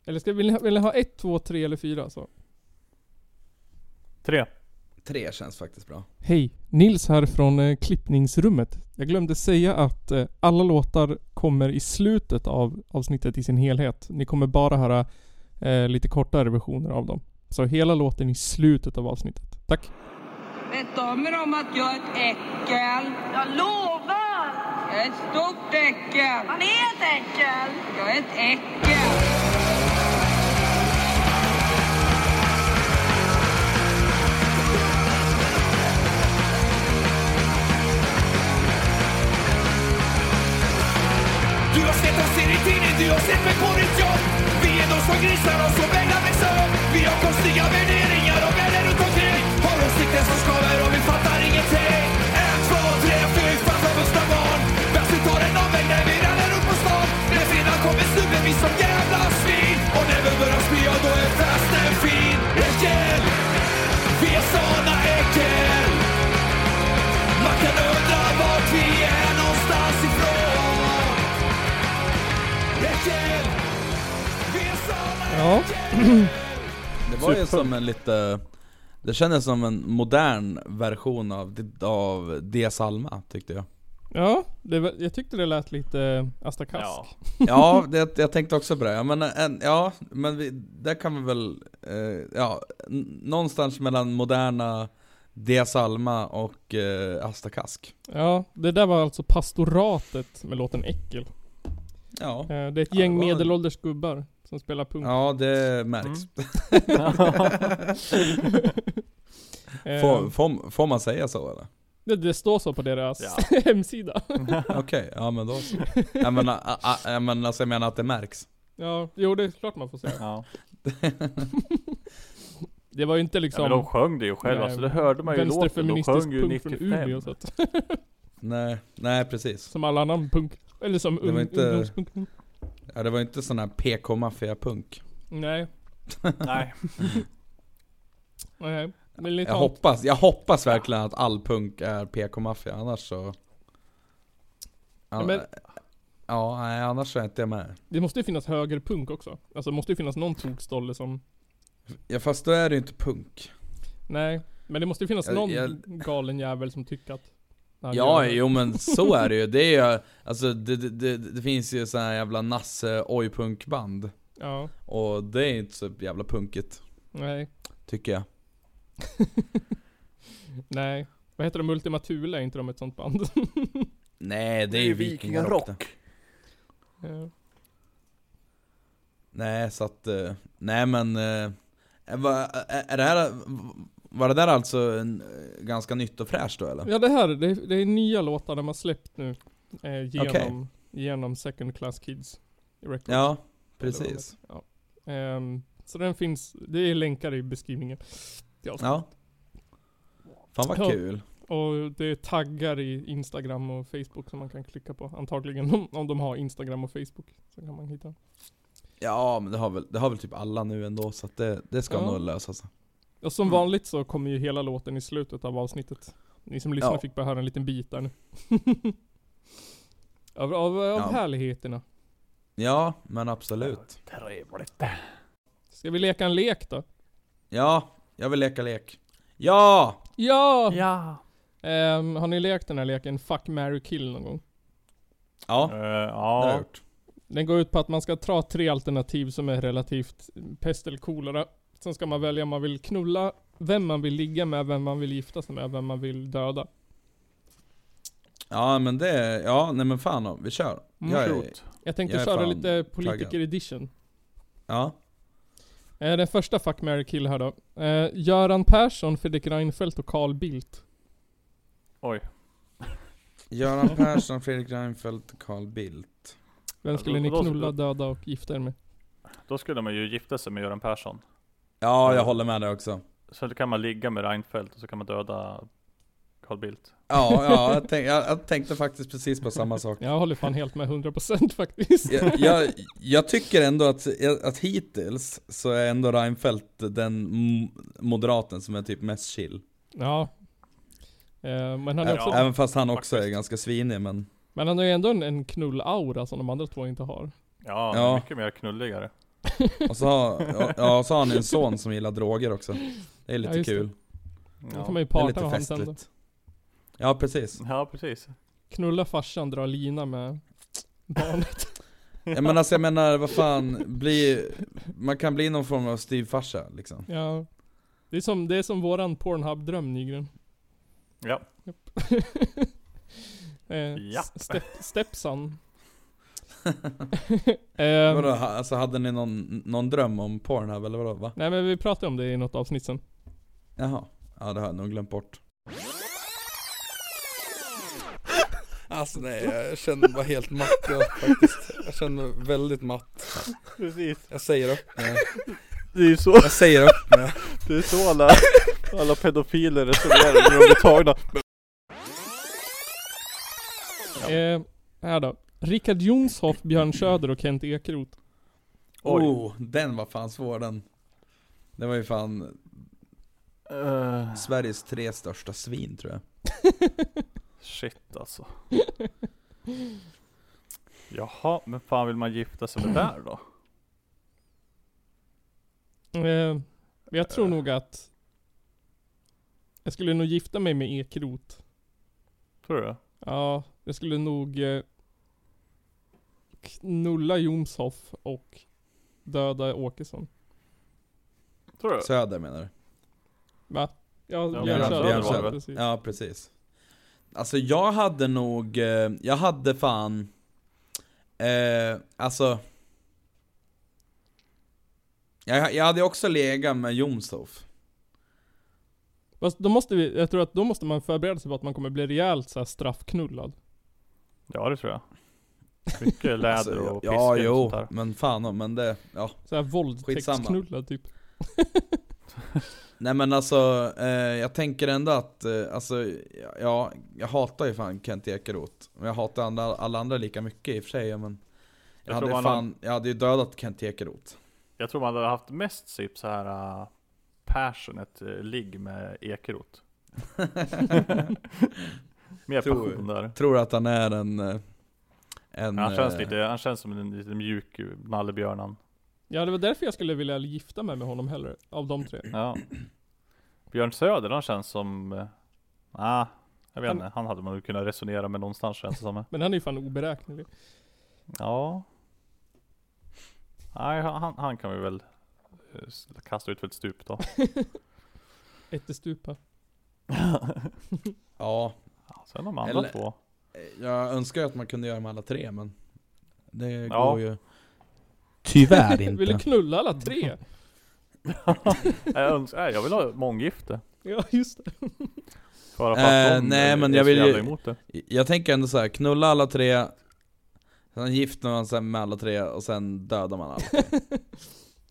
[SPEAKER 2] Eller ska, vill, ni, ha- vill ni ha ett, två, tre eller fyra? alltså? Så.
[SPEAKER 3] Tre.
[SPEAKER 1] Tre känns faktiskt bra.
[SPEAKER 2] Hej, Nils här från eh, klippningsrummet. Jag glömde säga att eh, alla låtar kommer i slutet av avsnittet i sin helhet. Ni kommer bara höra eh, lite kortare versioner av dem. Så hela låten i slutet av avsnittet. Tack!
[SPEAKER 4] Vet om er om att jag är ett äckel?
[SPEAKER 5] Jag lovar!
[SPEAKER 4] Jag är ett stort äckel.
[SPEAKER 5] Han är ett äckel!
[SPEAKER 4] Jag är ett äckel.
[SPEAKER 6] Du har sett oss i din tidning, du har sett mig på ditt jobb Vi är de som grisar och som vägrar växa upp Vi har konstiga värderingar och världen runt omkring Har åsikter som skaver och vi fattar ingenting En, två, tre, fy fan som vuxna barn Värst tar en omväg när vi ramlar upp på stan När fredag kommer snubben vi som jävla svin Och när vi börjar spy, ja då är festen fin Äckel! Vi är såna äckel! Man kan undra vart vi är någonstans ifrån Äckel! Vi är såna
[SPEAKER 2] Ja,
[SPEAKER 1] Det var ju
[SPEAKER 3] Superb.
[SPEAKER 1] som en lite... Det kändes som en modern version av, av De Salma tyckte jag.
[SPEAKER 2] ja det, var- jag tyckte det lät lite eh, Asta Kask.
[SPEAKER 3] Ja.
[SPEAKER 1] Ja, det, jag tänkte också på det. Ja, men, en, ja, men vi, där kan vi väl... Eh, ja, n- någonstans mellan moderna De Salma och eh, Asta Kask.
[SPEAKER 2] Ja, det där var alltså Pastoratet med låten Äckel. Eh,
[SPEAKER 1] Ja.
[SPEAKER 2] Det är ett
[SPEAKER 1] Ja,
[SPEAKER 2] gäng
[SPEAKER 1] det var-
[SPEAKER 2] medelålders gubbar som spelar punk.
[SPEAKER 1] ja, det märks.
[SPEAKER 2] Eh,
[SPEAKER 1] Får, får, får man säga så eller?
[SPEAKER 2] det, det står så på deras
[SPEAKER 3] Ja.
[SPEAKER 2] hemsida.
[SPEAKER 1] Okej, ja men då så. Jag menar, a, a, jag menar, alltså, jag menar att det märks.
[SPEAKER 2] Ja, jo det är klart man får säga.
[SPEAKER 3] ja.
[SPEAKER 2] Det var ju inte
[SPEAKER 3] Ja, men de
[SPEAKER 2] liksom
[SPEAKER 3] sjöng det ju själva,
[SPEAKER 2] Nej,
[SPEAKER 3] så det hörde man ju i låten. De
[SPEAKER 2] vänsterfeministisk
[SPEAKER 3] sjöng ju
[SPEAKER 2] punk från
[SPEAKER 3] 95.
[SPEAKER 2] Umeå så att,
[SPEAKER 1] Nej, nej precis.
[SPEAKER 2] Som all annan punk. Eller som
[SPEAKER 1] Det var
[SPEAKER 2] un,
[SPEAKER 1] inte-
[SPEAKER 2] ungdomspunk.
[SPEAKER 1] Ja, det var ju inte sån här PK-maffia-punk.
[SPEAKER 2] Nej.
[SPEAKER 3] Nej.
[SPEAKER 2] Nej. Militant.
[SPEAKER 1] Jag hoppas, jag hoppas verkligen att all punk är PK-maffia, annars så... Ja,
[SPEAKER 2] Ja, men-
[SPEAKER 1] ja, nej, annars så är inte jag med.
[SPEAKER 2] Det måste ju finnas högerpunk också. Alltså det måste ju finnas någon tokstolle som...
[SPEAKER 1] Ja, fast då är det ju inte punk.
[SPEAKER 2] Nej. Men det måste ju finnas
[SPEAKER 1] Jag-
[SPEAKER 2] någon
[SPEAKER 1] jag-
[SPEAKER 2] galen jävel som tycker att... Ja,
[SPEAKER 1] Ja,
[SPEAKER 2] gör det.
[SPEAKER 1] jo men så är det ju. Det är ju, alltså det, det, det, det finns ju såna här jävla nasse oj punkband
[SPEAKER 2] Ja.
[SPEAKER 1] Och det är inte så jävla punkigt,
[SPEAKER 2] Nej.
[SPEAKER 1] tycker jag.
[SPEAKER 2] Nej. Vad heter de? Ultima Thule? Är inte de ett sånt band?
[SPEAKER 1] Nej, det är ju vikingarock. det.
[SPEAKER 2] Ja.
[SPEAKER 1] Nej, så att, eh, nej men, eh, va- är är det här, var det där alltså en, eh, ganska nytt och fräscht då eller?
[SPEAKER 2] ja det här, det, det är nya låtar de har släppt nu. Eh, genom,
[SPEAKER 1] Okej.
[SPEAKER 2] genom Second Class Kids. Records.
[SPEAKER 1] Ja, precis.
[SPEAKER 2] Ja. Ehm, så den finns, det är länkar i beskrivningen. Ja.
[SPEAKER 1] Ja. Fan vad
[SPEAKER 2] Ja.
[SPEAKER 1] kul.
[SPEAKER 2] Och det är taggar i Instagram och Facebook som man kan klicka på. Antagligen om, om de har Instagram och Facebook. Så kan man hitta.
[SPEAKER 1] Ja men det har väl, det har väl typ alla nu ändå så att det, det ska
[SPEAKER 2] Ja.
[SPEAKER 1] nog lösa sig.
[SPEAKER 2] Och
[SPEAKER 1] Mm.
[SPEAKER 2] som vanligt så kommer ju hela låten i slutet av avsnittet. Ni som lyssnar
[SPEAKER 1] Ja.
[SPEAKER 2] fick bara höra en liten bit där nu. av av, av
[SPEAKER 1] Ja.
[SPEAKER 2] härligheterna.
[SPEAKER 1] Ja, men absolut.
[SPEAKER 3] Trevligt.
[SPEAKER 2] Ska vi leka en lek då?
[SPEAKER 1] Ja, jag vill leka lek. Ja!
[SPEAKER 2] Ja!
[SPEAKER 3] Ja.
[SPEAKER 2] Ehm, har ni lekt den här leken Fuck, marry, kill någon gång?
[SPEAKER 1] Ja,
[SPEAKER 3] Eh,
[SPEAKER 1] det har jag
[SPEAKER 3] ja.
[SPEAKER 1] gjort.
[SPEAKER 2] Den går ut på att man ska ta tre alternativ som är relativt pest eller kolera. Sen ska man välja om man vill knulla, vem man vill ligga med, vem man vill gifta sig med, vem man vill döda.
[SPEAKER 1] Ja men det, ja nej men fan då, vi kör.
[SPEAKER 2] Mm.
[SPEAKER 1] Jag är,
[SPEAKER 3] Shoot.
[SPEAKER 2] Jag tänkte
[SPEAKER 1] Jag är
[SPEAKER 2] köra
[SPEAKER 1] fan
[SPEAKER 2] lite
[SPEAKER 1] taggad.
[SPEAKER 2] politiker edition.
[SPEAKER 1] ja.
[SPEAKER 2] Eh, den första Fuck, marry, kill här då. Eh, Göran Persson, Fredrik Reinfeldt och Carl Bildt.
[SPEAKER 3] Oj.
[SPEAKER 1] Göran Persson, Fredrik Reinfeldt, Carl Bildt.
[SPEAKER 2] Vem
[SPEAKER 3] Ja,
[SPEAKER 2] skulle
[SPEAKER 3] då-
[SPEAKER 2] ni
[SPEAKER 3] då-
[SPEAKER 2] knulla,
[SPEAKER 3] då-
[SPEAKER 2] döda och gifta er med?
[SPEAKER 3] Då skulle man ju gifta sig med Göran Persson.
[SPEAKER 1] Ja, jag håller med dig också.
[SPEAKER 3] Sen kan man ligga med Reinfeldt och så kan man döda Carl Bildt.
[SPEAKER 1] Ja, ja jag, tänk, jag, jag tänkte faktiskt precis på samma sak.
[SPEAKER 2] Jag håller fan helt med 100% faktiskt.
[SPEAKER 1] Jag, jag, jag tycker ändå att, att hittills så är ändå Reinfeldt den m- moderaten som är typ mest chill.
[SPEAKER 2] Ja. Eh, men, han är
[SPEAKER 1] Ä-
[SPEAKER 2] också,
[SPEAKER 3] Ja.
[SPEAKER 1] Även fast han också är
[SPEAKER 3] Faktiskt.
[SPEAKER 1] ganska svinig men
[SPEAKER 2] men han har ju ändå en, en knullaura som de andra två inte har.
[SPEAKER 3] Ja,
[SPEAKER 1] Ja.
[SPEAKER 3] mycket mer knulligare.
[SPEAKER 1] Och så, har- ja, och så har han en son som gillar droger också. Det är lite
[SPEAKER 2] Ja, just det.
[SPEAKER 1] kul.
[SPEAKER 2] Då
[SPEAKER 3] Ja,
[SPEAKER 2] kan man ju
[SPEAKER 1] Det är
[SPEAKER 2] parta
[SPEAKER 1] lite
[SPEAKER 2] med honom sen då.
[SPEAKER 1] festligt. Ja precis.
[SPEAKER 3] ja precis.
[SPEAKER 2] Knulla farsan, dra lina med barnet.
[SPEAKER 1] Ja, men alltså jag menar vad fan, bli, man kan bli någon form av styvfarsa liksom.
[SPEAKER 2] ja. Det är som, det är som våran Pornhub-dröm Nygren.
[SPEAKER 3] Ja,
[SPEAKER 2] Eh,
[SPEAKER 3] Ja.
[SPEAKER 2] s- Step, stepson. Ehm,
[SPEAKER 1] Vadå, ha- alltså hade ni någon, någon dröm om Pornhub eller vadå? Va?
[SPEAKER 2] nej men vi pratade om det i något avsnitt sen.
[SPEAKER 1] Jaha. Ja det har jag nog glömt bort. Alltså nej, jag känner mig helt matt faktiskt. Jag känner mig väldigt matt.
[SPEAKER 3] precis.
[SPEAKER 1] Jag säger upp
[SPEAKER 3] Det är ju så,
[SPEAKER 1] Jag säger upp mig.
[SPEAKER 3] det är så alla, alla pedofiler resonerar när de blir tagna.
[SPEAKER 2] Eh, här då. Rickard Jonshoff, Björn Söder och Kent Ekeroth.
[SPEAKER 3] Oj.
[SPEAKER 1] Oh, den var fan svår den. Det var ju fan
[SPEAKER 3] Eh,
[SPEAKER 1] Sveriges tre största svin tror jag.
[SPEAKER 3] shit alltså. Jaha, men fan vill man gifta sig med där då?
[SPEAKER 2] Eh, men jag tror
[SPEAKER 3] Eh.
[SPEAKER 2] nog att jag skulle nog gifta mig med Ekeroth.
[SPEAKER 3] Tror du?
[SPEAKER 2] Ja, jag skulle nog eh, knulla Jonshoff och döda Åkesson.
[SPEAKER 3] Tror du?
[SPEAKER 1] Söder menar du?
[SPEAKER 2] Va? Ja, Björn
[SPEAKER 3] Björn
[SPEAKER 2] Söder.
[SPEAKER 3] Söder
[SPEAKER 2] Björn
[SPEAKER 3] var det
[SPEAKER 2] Söder.
[SPEAKER 3] väl?
[SPEAKER 2] Precis.
[SPEAKER 1] Ja precis. Alltså jag hade nog, eh, jag hade fan, eh, alltså jag, jag hade också legat med Jomshof.
[SPEAKER 2] Fast då måste vi, jag tror att då måste man förbereda sig på att man kommer bli rejält så här straffknullad.
[SPEAKER 3] Ja det tror jag. Mycket läder
[SPEAKER 1] Alltså,
[SPEAKER 3] och piskor
[SPEAKER 1] ja,
[SPEAKER 3] och sånt
[SPEAKER 1] jo,
[SPEAKER 3] där.
[SPEAKER 1] men fan men det, ja.
[SPEAKER 2] Så här våldtäktsknullad typ.
[SPEAKER 1] Nej men alltså, eh, jag tänker ändå att, eh, alltså, ja, jag hatar ju fan Kent Ekeroth. Men jag hatar andra, alla andra lika mycket i och för sig, ja, men jag,
[SPEAKER 3] Jag
[SPEAKER 1] hade
[SPEAKER 3] tror
[SPEAKER 1] ju
[SPEAKER 3] man
[SPEAKER 1] fan, jag hade ju dödat Kent Ekeroth.
[SPEAKER 3] Jag tror man hade haft mest sipp så här uh, passionate eh, ligg med Ekeroth. Mer
[SPEAKER 1] Tror-
[SPEAKER 3] passion där.
[SPEAKER 1] Tror att han är en, eh, en
[SPEAKER 3] Han känns,
[SPEAKER 1] eh,
[SPEAKER 3] lite, han känns som en liten mjuk nallebjörnan.
[SPEAKER 2] Ja, det var därför jag skulle vilja gifta mig med honom hellre, av de tre.
[SPEAKER 3] Ja. Björn Söder han känns som... eh, Ah, jag vet
[SPEAKER 2] Han-
[SPEAKER 3] inte, han hade man ju kunnat resonera med någonstans känns det som.
[SPEAKER 2] Men han är ju fan oberäknelig.
[SPEAKER 3] Ja. Nej, han, han kan vi väl eh, s- kasta ut för ett stup då.
[SPEAKER 2] Ättestupa.
[SPEAKER 1] Ja,
[SPEAKER 3] Sen de andra
[SPEAKER 1] Eller-
[SPEAKER 3] två.
[SPEAKER 1] jag önskar ju att man kunde göra med alla tre men Det
[SPEAKER 3] Ja.
[SPEAKER 1] går ju Tyvärr
[SPEAKER 2] Vill du knulla alla tre?
[SPEAKER 3] Jag, önskar, nej, jag vill ha månggifte.
[SPEAKER 2] Ja, just det.
[SPEAKER 3] Bara för
[SPEAKER 1] Eh,
[SPEAKER 3] att de
[SPEAKER 1] nej,
[SPEAKER 3] är-
[SPEAKER 1] men
[SPEAKER 3] är
[SPEAKER 1] jag
[SPEAKER 3] så
[SPEAKER 1] vill ju-
[SPEAKER 3] jävla emot det.
[SPEAKER 1] Jag tänker ändå så här, knulla alla tre Sen gifter man sig med alla tre och sen dödar man alla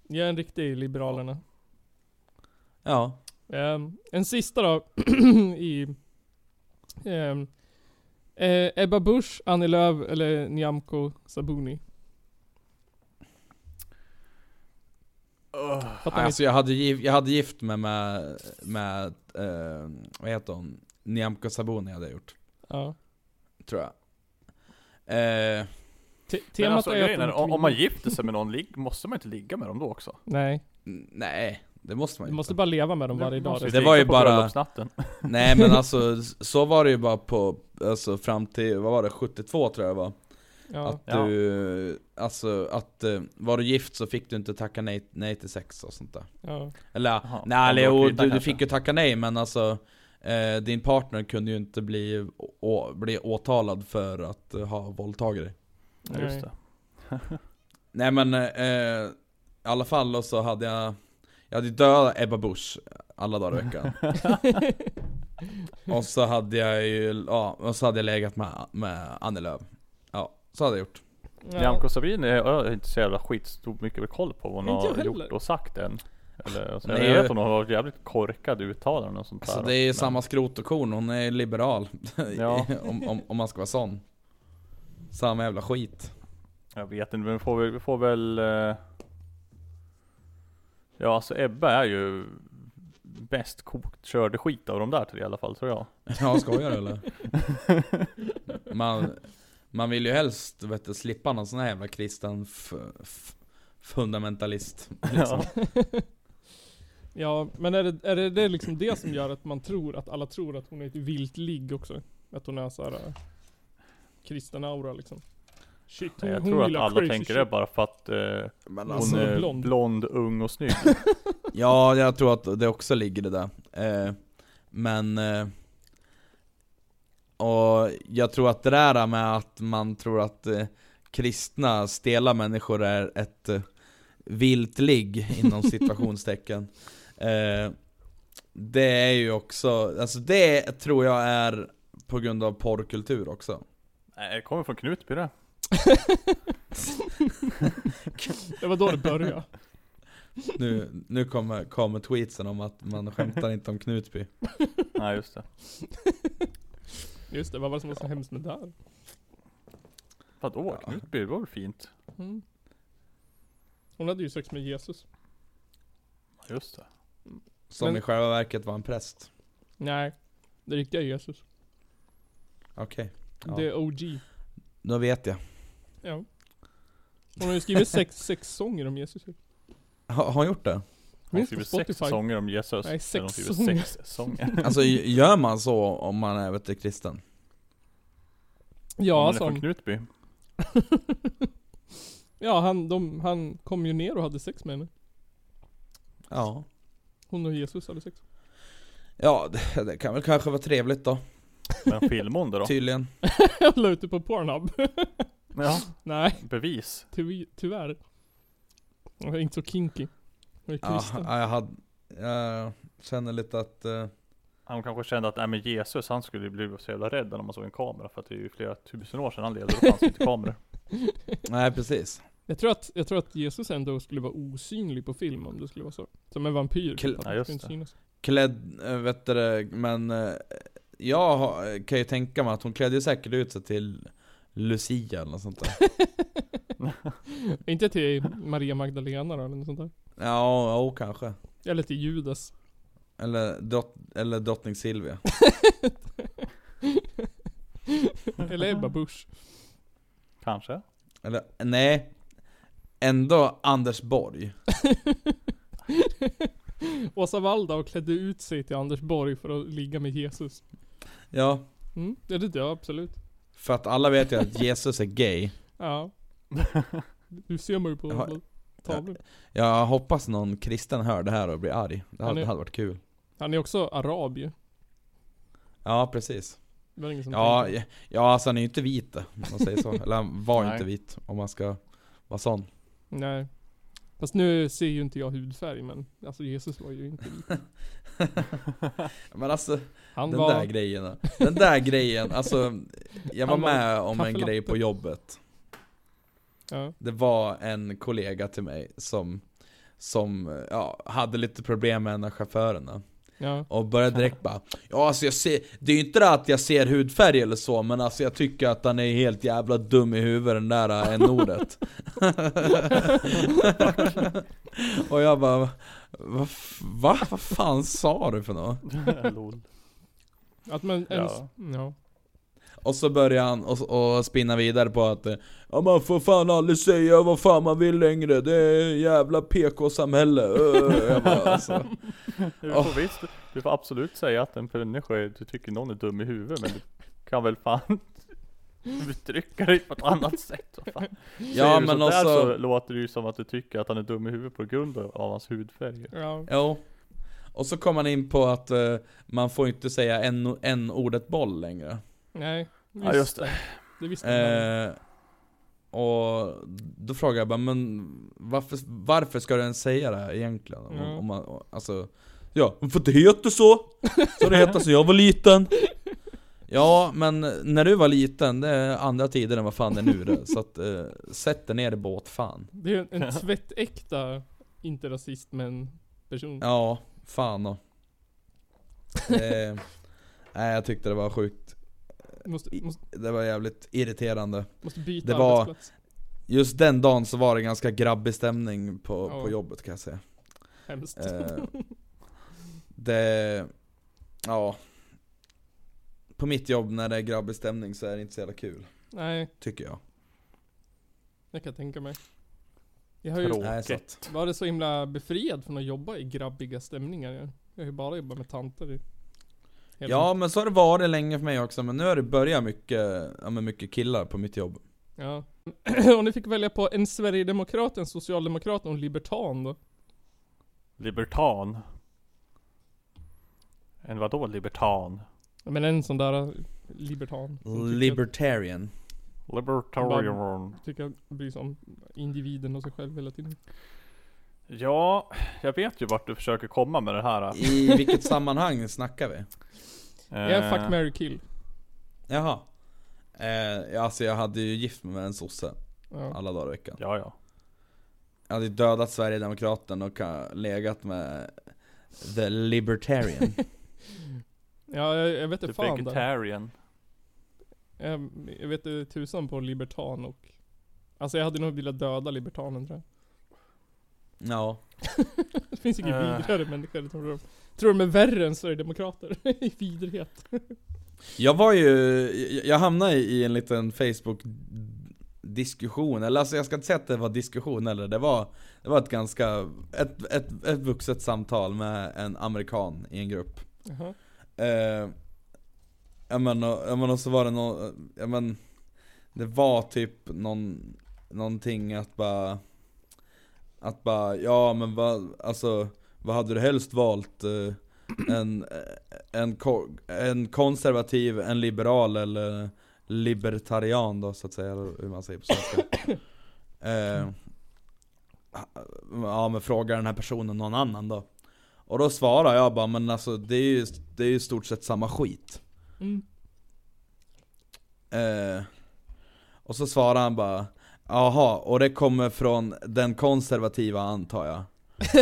[SPEAKER 2] Jag är en riktig Liberalerna.
[SPEAKER 1] Ja,
[SPEAKER 2] Ehm, en sista då. I... ehm, eh, Ebba Busch, Annie Lööf eller Nyamko Sabuni. Fattar ni?
[SPEAKER 1] alltså jag hade, gift, jag hade gift mig med, med eh, vad heter hon? Nyamko Sabuni hade jag gjort,
[SPEAKER 2] Ja.
[SPEAKER 1] tror jag eh,
[SPEAKER 2] Te-
[SPEAKER 3] Men
[SPEAKER 2] temat
[SPEAKER 3] alltså,
[SPEAKER 2] är ju
[SPEAKER 3] grejen
[SPEAKER 2] att
[SPEAKER 3] är,
[SPEAKER 2] de
[SPEAKER 3] om om man
[SPEAKER 2] kvinnor-
[SPEAKER 3] gifter sig med någon, ligg- måste man inte ligga med dem då också?
[SPEAKER 2] Nej,
[SPEAKER 1] Nej, det måste man
[SPEAKER 2] du
[SPEAKER 1] ju
[SPEAKER 2] måste
[SPEAKER 1] inte
[SPEAKER 2] bara leva med dem varje dag.
[SPEAKER 3] Måste
[SPEAKER 1] Det
[SPEAKER 2] resten.
[SPEAKER 3] ligga
[SPEAKER 1] var ju
[SPEAKER 3] på
[SPEAKER 1] bara-
[SPEAKER 3] bröllopsnatten.
[SPEAKER 1] Nej men alltså, så var det ju bara på, alltså fram till, vad var det, 72 tror jag det var
[SPEAKER 2] Ja.
[SPEAKER 1] Att du, alltså att eh, var du gift så fick du inte tacka nej, nej till sex och sånt där.
[SPEAKER 2] Ja.
[SPEAKER 1] Eller
[SPEAKER 3] Jaha,
[SPEAKER 1] nej,
[SPEAKER 3] men då
[SPEAKER 1] Leo,
[SPEAKER 3] kvittar
[SPEAKER 1] du, du
[SPEAKER 3] kanske.
[SPEAKER 1] fick ju tacka nej men alltså eh, din partner kunde ju inte bli, å, bli åtalad för att eh, ha våldtagit dig.
[SPEAKER 3] Ja, just det.
[SPEAKER 1] Nej men eh, i alla fall och så hade jag, jag hade ju dödat Ebba Busch alla dagar i veckan. och så hade jag ju, ja, och så hade jag legat med, med Annie Lööf. Ja, så hade jag gjort.
[SPEAKER 2] Ja.
[SPEAKER 3] Nyamko Sabini har jag inte så jävla skitstort mycket väl koll på vad hon
[SPEAKER 2] Inte jag
[SPEAKER 3] har
[SPEAKER 2] heller.
[SPEAKER 3] gjort och sagt än. Eller, så
[SPEAKER 1] Hon
[SPEAKER 3] jag
[SPEAKER 1] är ju-
[SPEAKER 3] vet att hon har varit jävligt korkad i uttalanden och sånt
[SPEAKER 1] Alltså
[SPEAKER 3] där.
[SPEAKER 1] det är ju
[SPEAKER 3] Men-
[SPEAKER 1] samma skrot och korn, hon är liberal.
[SPEAKER 3] Ja.
[SPEAKER 1] om, om, om man ska vara sån. Samma jävla skit.
[SPEAKER 3] Jag vet inte, men vi får väl... Vi får väl eh, ja, alltså Ebba är ju bäst kokt körde skit av de där tre i alla fall tror jag.
[SPEAKER 1] Ja, skojar du eller? Man, man vill ju helst vet du, slippa någon sån här jävla kristen f- f- fundamentalist. liksom.
[SPEAKER 3] Ja.
[SPEAKER 2] Ja, men är det, är det, det är liksom det som gör att man tror, att alla tror att hon är ett vilt ligg också? Att hon är såhär äh, kristen aura liksom? Shit, hon,
[SPEAKER 3] Jag
[SPEAKER 2] hon
[SPEAKER 3] tror att
[SPEAKER 2] gillar
[SPEAKER 3] alla
[SPEAKER 2] crazy
[SPEAKER 3] tänker
[SPEAKER 2] shit.
[SPEAKER 3] det bara för att eh,
[SPEAKER 1] Men
[SPEAKER 3] hon
[SPEAKER 2] alltså-
[SPEAKER 3] är
[SPEAKER 2] Blond.
[SPEAKER 3] blond. ung och snygg.
[SPEAKER 1] Ja, jag tror att det också ligger det där. Eh, men... Eh, och jag tror att det där med att man tror att eh, kristna, stela människor är ett eh, vilt ligg inom situationstecken. eh, det är ju också, alltså det tror jag är på grund av porrkultur också.
[SPEAKER 3] Nej, det kommer från Knutby det.
[SPEAKER 2] Det var då det började.
[SPEAKER 1] Nu, nu kommer, kommer tweetsen om att man skämtar inte om Knutby.
[SPEAKER 3] Nej just det.
[SPEAKER 2] Just det, vad var det som var så hemskt med det där?
[SPEAKER 3] Vadå
[SPEAKER 1] Ja.
[SPEAKER 3] Knutby? Det var väl fint?
[SPEAKER 2] Mm. Hon hade ju sex med Jesus.
[SPEAKER 3] Just det.
[SPEAKER 1] Som
[SPEAKER 2] Men-
[SPEAKER 1] i själva verket var en präst.
[SPEAKER 2] Nej, det riktiga Jesus.
[SPEAKER 1] Okej. Ja.
[SPEAKER 2] Det är OG.
[SPEAKER 1] Då vet jag.
[SPEAKER 2] Ja. Hon har ju skrivit sex, sex sånger om Jesus.
[SPEAKER 1] Ha, har han gjort det?
[SPEAKER 3] Hon
[SPEAKER 2] Finns
[SPEAKER 3] skriver
[SPEAKER 2] på
[SPEAKER 3] sex
[SPEAKER 2] Spotify.
[SPEAKER 3] sånger om Jesus.
[SPEAKER 2] Nej, sex
[SPEAKER 3] Eller hon skriver sex sånger.
[SPEAKER 1] Alltså g- gör man så om man är vet, du, kristen?
[SPEAKER 3] Hon
[SPEAKER 2] Ja,
[SPEAKER 3] är från
[SPEAKER 2] som,
[SPEAKER 3] Knutby.
[SPEAKER 2] ja han, de, han kom ju ner och hade sex med henne.
[SPEAKER 1] Ja.
[SPEAKER 2] Hon och Jesus hade sex.
[SPEAKER 1] Ja, det, det kan väl kanske vara trevligt då.
[SPEAKER 3] Men filmade hon det då?
[SPEAKER 1] Tydligen.
[SPEAKER 2] Jag la ut det på Pornhub.
[SPEAKER 3] Ja,
[SPEAKER 2] Nej,
[SPEAKER 3] bevis.
[SPEAKER 2] ty tyvärr. Jag är inte så kinky. Jag är
[SPEAKER 1] Ja,
[SPEAKER 2] kristen.
[SPEAKER 1] jag, hade, jag känner lite att... eh,
[SPEAKER 3] Han kanske kände att, nej men Jesus han skulle bli så jävla rädd när man såg en kamera. För att det är ju flera tusen år sedan han levde, då fanns det inte kameror.
[SPEAKER 1] nej precis.
[SPEAKER 2] Jag, tror att, jag tror att Jesus ändå skulle vara osynlig på film om det skulle vara så. Som en vampyr.
[SPEAKER 1] Kul-
[SPEAKER 2] Att han
[SPEAKER 3] Ja, just
[SPEAKER 2] skulle inte
[SPEAKER 3] det.
[SPEAKER 2] synas.
[SPEAKER 1] Klädd, eh, vet du det, men... eh, Jag har- kan ju tänka mig att hon klädde ju säkert ut sig till Lucia eller något sånt där.
[SPEAKER 2] Inte till Maria Magdalena då, eller något sånt där.
[SPEAKER 1] Ja, jo kanske.
[SPEAKER 2] Eller till Judas.
[SPEAKER 1] Eller, drott, eller drottning Silvia.
[SPEAKER 2] Eller Ebba Busch.
[SPEAKER 3] Kanske.
[SPEAKER 1] Eller nej. Ändå Anders Borg.
[SPEAKER 2] Åsa Waldau klädde ut sig till Anders Borg för att ligga med Jesus.
[SPEAKER 1] Ja.
[SPEAKER 2] Mm, det är det, ja, absolut.
[SPEAKER 1] För att alla vet ju att Jesus är gay.
[SPEAKER 2] Ja. Du ser mig ju på
[SPEAKER 1] Jaha.
[SPEAKER 2] alla tavlor.
[SPEAKER 1] Jag hoppas någon kristen hör det här och blir arg. Det
[SPEAKER 2] Han
[SPEAKER 1] hade,
[SPEAKER 2] är-
[SPEAKER 1] det hade varit kul.
[SPEAKER 2] Han är också arab ju.
[SPEAKER 1] Ja, precis.
[SPEAKER 2] Det var ingen som
[SPEAKER 1] Ja,
[SPEAKER 2] tänkte.
[SPEAKER 1] ja, ja, alltså han är ju inte vit om man säger så. Eller han var ju
[SPEAKER 3] Nej.
[SPEAKER 1] inte vit om man ska vara sån.
[SPEAKER 2] Nej. Fast nu ser ju inte jag hudfärg men, alltså Jesus var ju inte vit.
[SPEAKER 1] Men alltså,
[SPEAKER 2] Han
[SPEAKER 1] den
[SPEAKER 2] var...
[SPEAKER 1] där grejen. Den där grejen. Alltså, jag var
[SPEAKER 2] Han var
[SPEAKER 1] med om en
[SPEAKER 2] kaffelatte.
[SPEAKER 1] grej på jobbet.
[SPEAKER 2] ja.
[SPEAKER 1] Det var en kollega till mig som, som ja, hade lite problem med en av chaufförerna.
[SPEAKER 2] ja.
[SPEAKER 1] Och började direkt bara Ja alltså jag ser, det är ju inte det att jag ser hudfärg eller så Men alltså jag tycker att han är helt jävla dum i huvudet den där äh, n-ordet Och jag bara Va? Va? Va? Vad fan sa du för något?
[SPEAKER 3] Lol.
[SPEAKER 2] Att man ens... Ja.
[SPEAKER 3] Ja.
[SPEAKER 1] Och så började han och, och spinna vidare på att eh, Ja man får fan aldrig säga vad fan man vill längre Det är jävla PK-samhälle Öh." Jag bara, alltså,
[SPEAKER 3] Du
[SPEAKER 1] Åh.
[SPEAKER 3] får visst, du får absolut säga att en människa är, du tycker någon är dum i huvudet men du kan väl fan uttrycka dig på ett annat sätt vad fan.
[SPEAKER 1] Ja
[SPEAKER 3] Säger du
[SPEAKER 1] men alltså-
[SPEAKER 3] sådär så
[SPEAKER 1] också
[SPEAKER 3] låter det ju som att du tycker att han är dum i huvudet på grund av hans hudfärg.
[SPEAKER 2] Ja.
[SPEAKER 1] Jo. Och så kom han in på att eh, man får inte säga en, en ordet boll längre.
[SPEAKER 2] Nej. Visst.
[SPEAKER 3] Ja just det.
[SPEAKER 2] Det visste man.
[SPEAKER 1] Eh, och då frågade jag bara, men varför, varför ska du ens säga det här egentligen? Om,
[SPEAKER 2] Ja.
[SPEAKER 1] om man, alltså, ja, för det heter så! Så det hette så jag var liten. Ja, men när du var liten, det är andra tider än vad fan det är nu det. Så att, eh, sätt dig ner i båt fan.
[SPEAKER 2] Det är en tvättäkta, inte rasist men person.
[SPEAKER 1] Ja, fan och. Eh, nej jag tyckte det var sjukt
[SPEAKER 2] Måste, måste,
[SPEAKER 1] Det var jävligt irriterande.
[SPEAKER 2] måste byta
[SPEAKER 1] Det var-
[SPEAKER 2] arbetsplats.
[SPEAKER 1] Just den dagen så var det ganska grabbig stämning på,
[SPEAKER 2] Ja.
[SPEAKER 1] på jobbet kan jag säga.
[SPEAKER 2] Hemskt.
[SPEAKER 1] Eh, det... Ja. På mitt jobb när det är grabbig stämning så är det inte så jävla kul,
[SPEAKER 2] Nej,
[SPEAKER 1] tycker jag.
[SPEAKER 2] jag kan tänka mig. Jag har ju
[SPEAKER 3] Tråkigt.
[SPEAKER 1] Nej, satt.
[SPEAKER 2] varit så himla befriad från att jobba i grabbiga stämningar. Jag jag har ju bara jobbat med tanter i hela
[SPEAKER 1] Ja men så har det varit länge för mig också, men nu har det börjat mycket, ja, men mycket killar på mitt jobb.
[SPEAKER 2] Ja. Om ni fick välja på en Sverigedemokrat, en Socialdemokrat och en Libertan då?
[SPEAKER 3] Libertan. En vadå libertan?
[SPEAKER 2] Ja, Men en sån där eh, Libertan. som tycker
[SPEAKER 1] Libertarian.
[SPEAKER 3] Libertarian.
[SPEAKER 2] att- Tycker att bryr sig om individen och sig själv hela tiden.
[SPEAKER 3] Ja, jag vet ju vart du försöker komma med det här.
[SPEAKER 1] I vilket sammanhang snackar vi?
[SPEAKER 3] Eh.
[SPEAKER 2] Jag är fuck, marry, kill.
[SPEAKER 1] Jaha. Eh, alltså jag hade ju gift mig med en sosse
[SPEAKER 2] Ja.
[SPEAKER 1] alla dagar i veckan.
[SPEAKER 3] Ja, ja.
[SPEAKER 1] Jag hade ju dödat Sverigedemokraterna och ka- legat med The Libertarian.
[SPEAKER 2] ja, jag, jag vet
[SPEAKER 3] The
[SPEAKER 2] inte fan där.
[SPEAKER 3] Typ vegetarian.
[SPEAKER 2] Jag, jag vet eh, tusan på Libertan och... Alltså jag hade nog velat döda Libertanen tror jag.
[SPEAKER 1] ja.
[SPEAKER 2] Det finns ingen
[SPEAKER 3] Eh.
[SPEAKER 2] vidrigare människor. Tror de, tror de är värre än Sverigedemokrater i vidrighet.
[SPEAKER 1] Jag var ju, jag- jag hamnade i en liten Facebook diskussion, eller alltså jag ska inte säga att det var diskussion eller det var Det var ett ganska, ett, ett, ett vuxet samtal med en amerikan i en grupp
[SPEAKER 2] Jaha.
[SPEAKER 1] eh, Ja men och, ja, men, och så var det någon, ja men Det var typ någon, någonting att bara Att bara, ja men vad, alltså Vad hade du helst valt? Eh, en, eh, en, ko- en konservativ, en liberal eller libertarian då så att säga, eller hur man säger på svenska eh, Ja men frågar den här personen någon annan då? Och då svarar jag bara, men alltså det är ju, det är ju i stort sett samma skit
[SPEAKER 2] Mm.
[SPEAKER 1] eh, Och så svarar han bara Jaha, och det kommer från den konservativa antar jag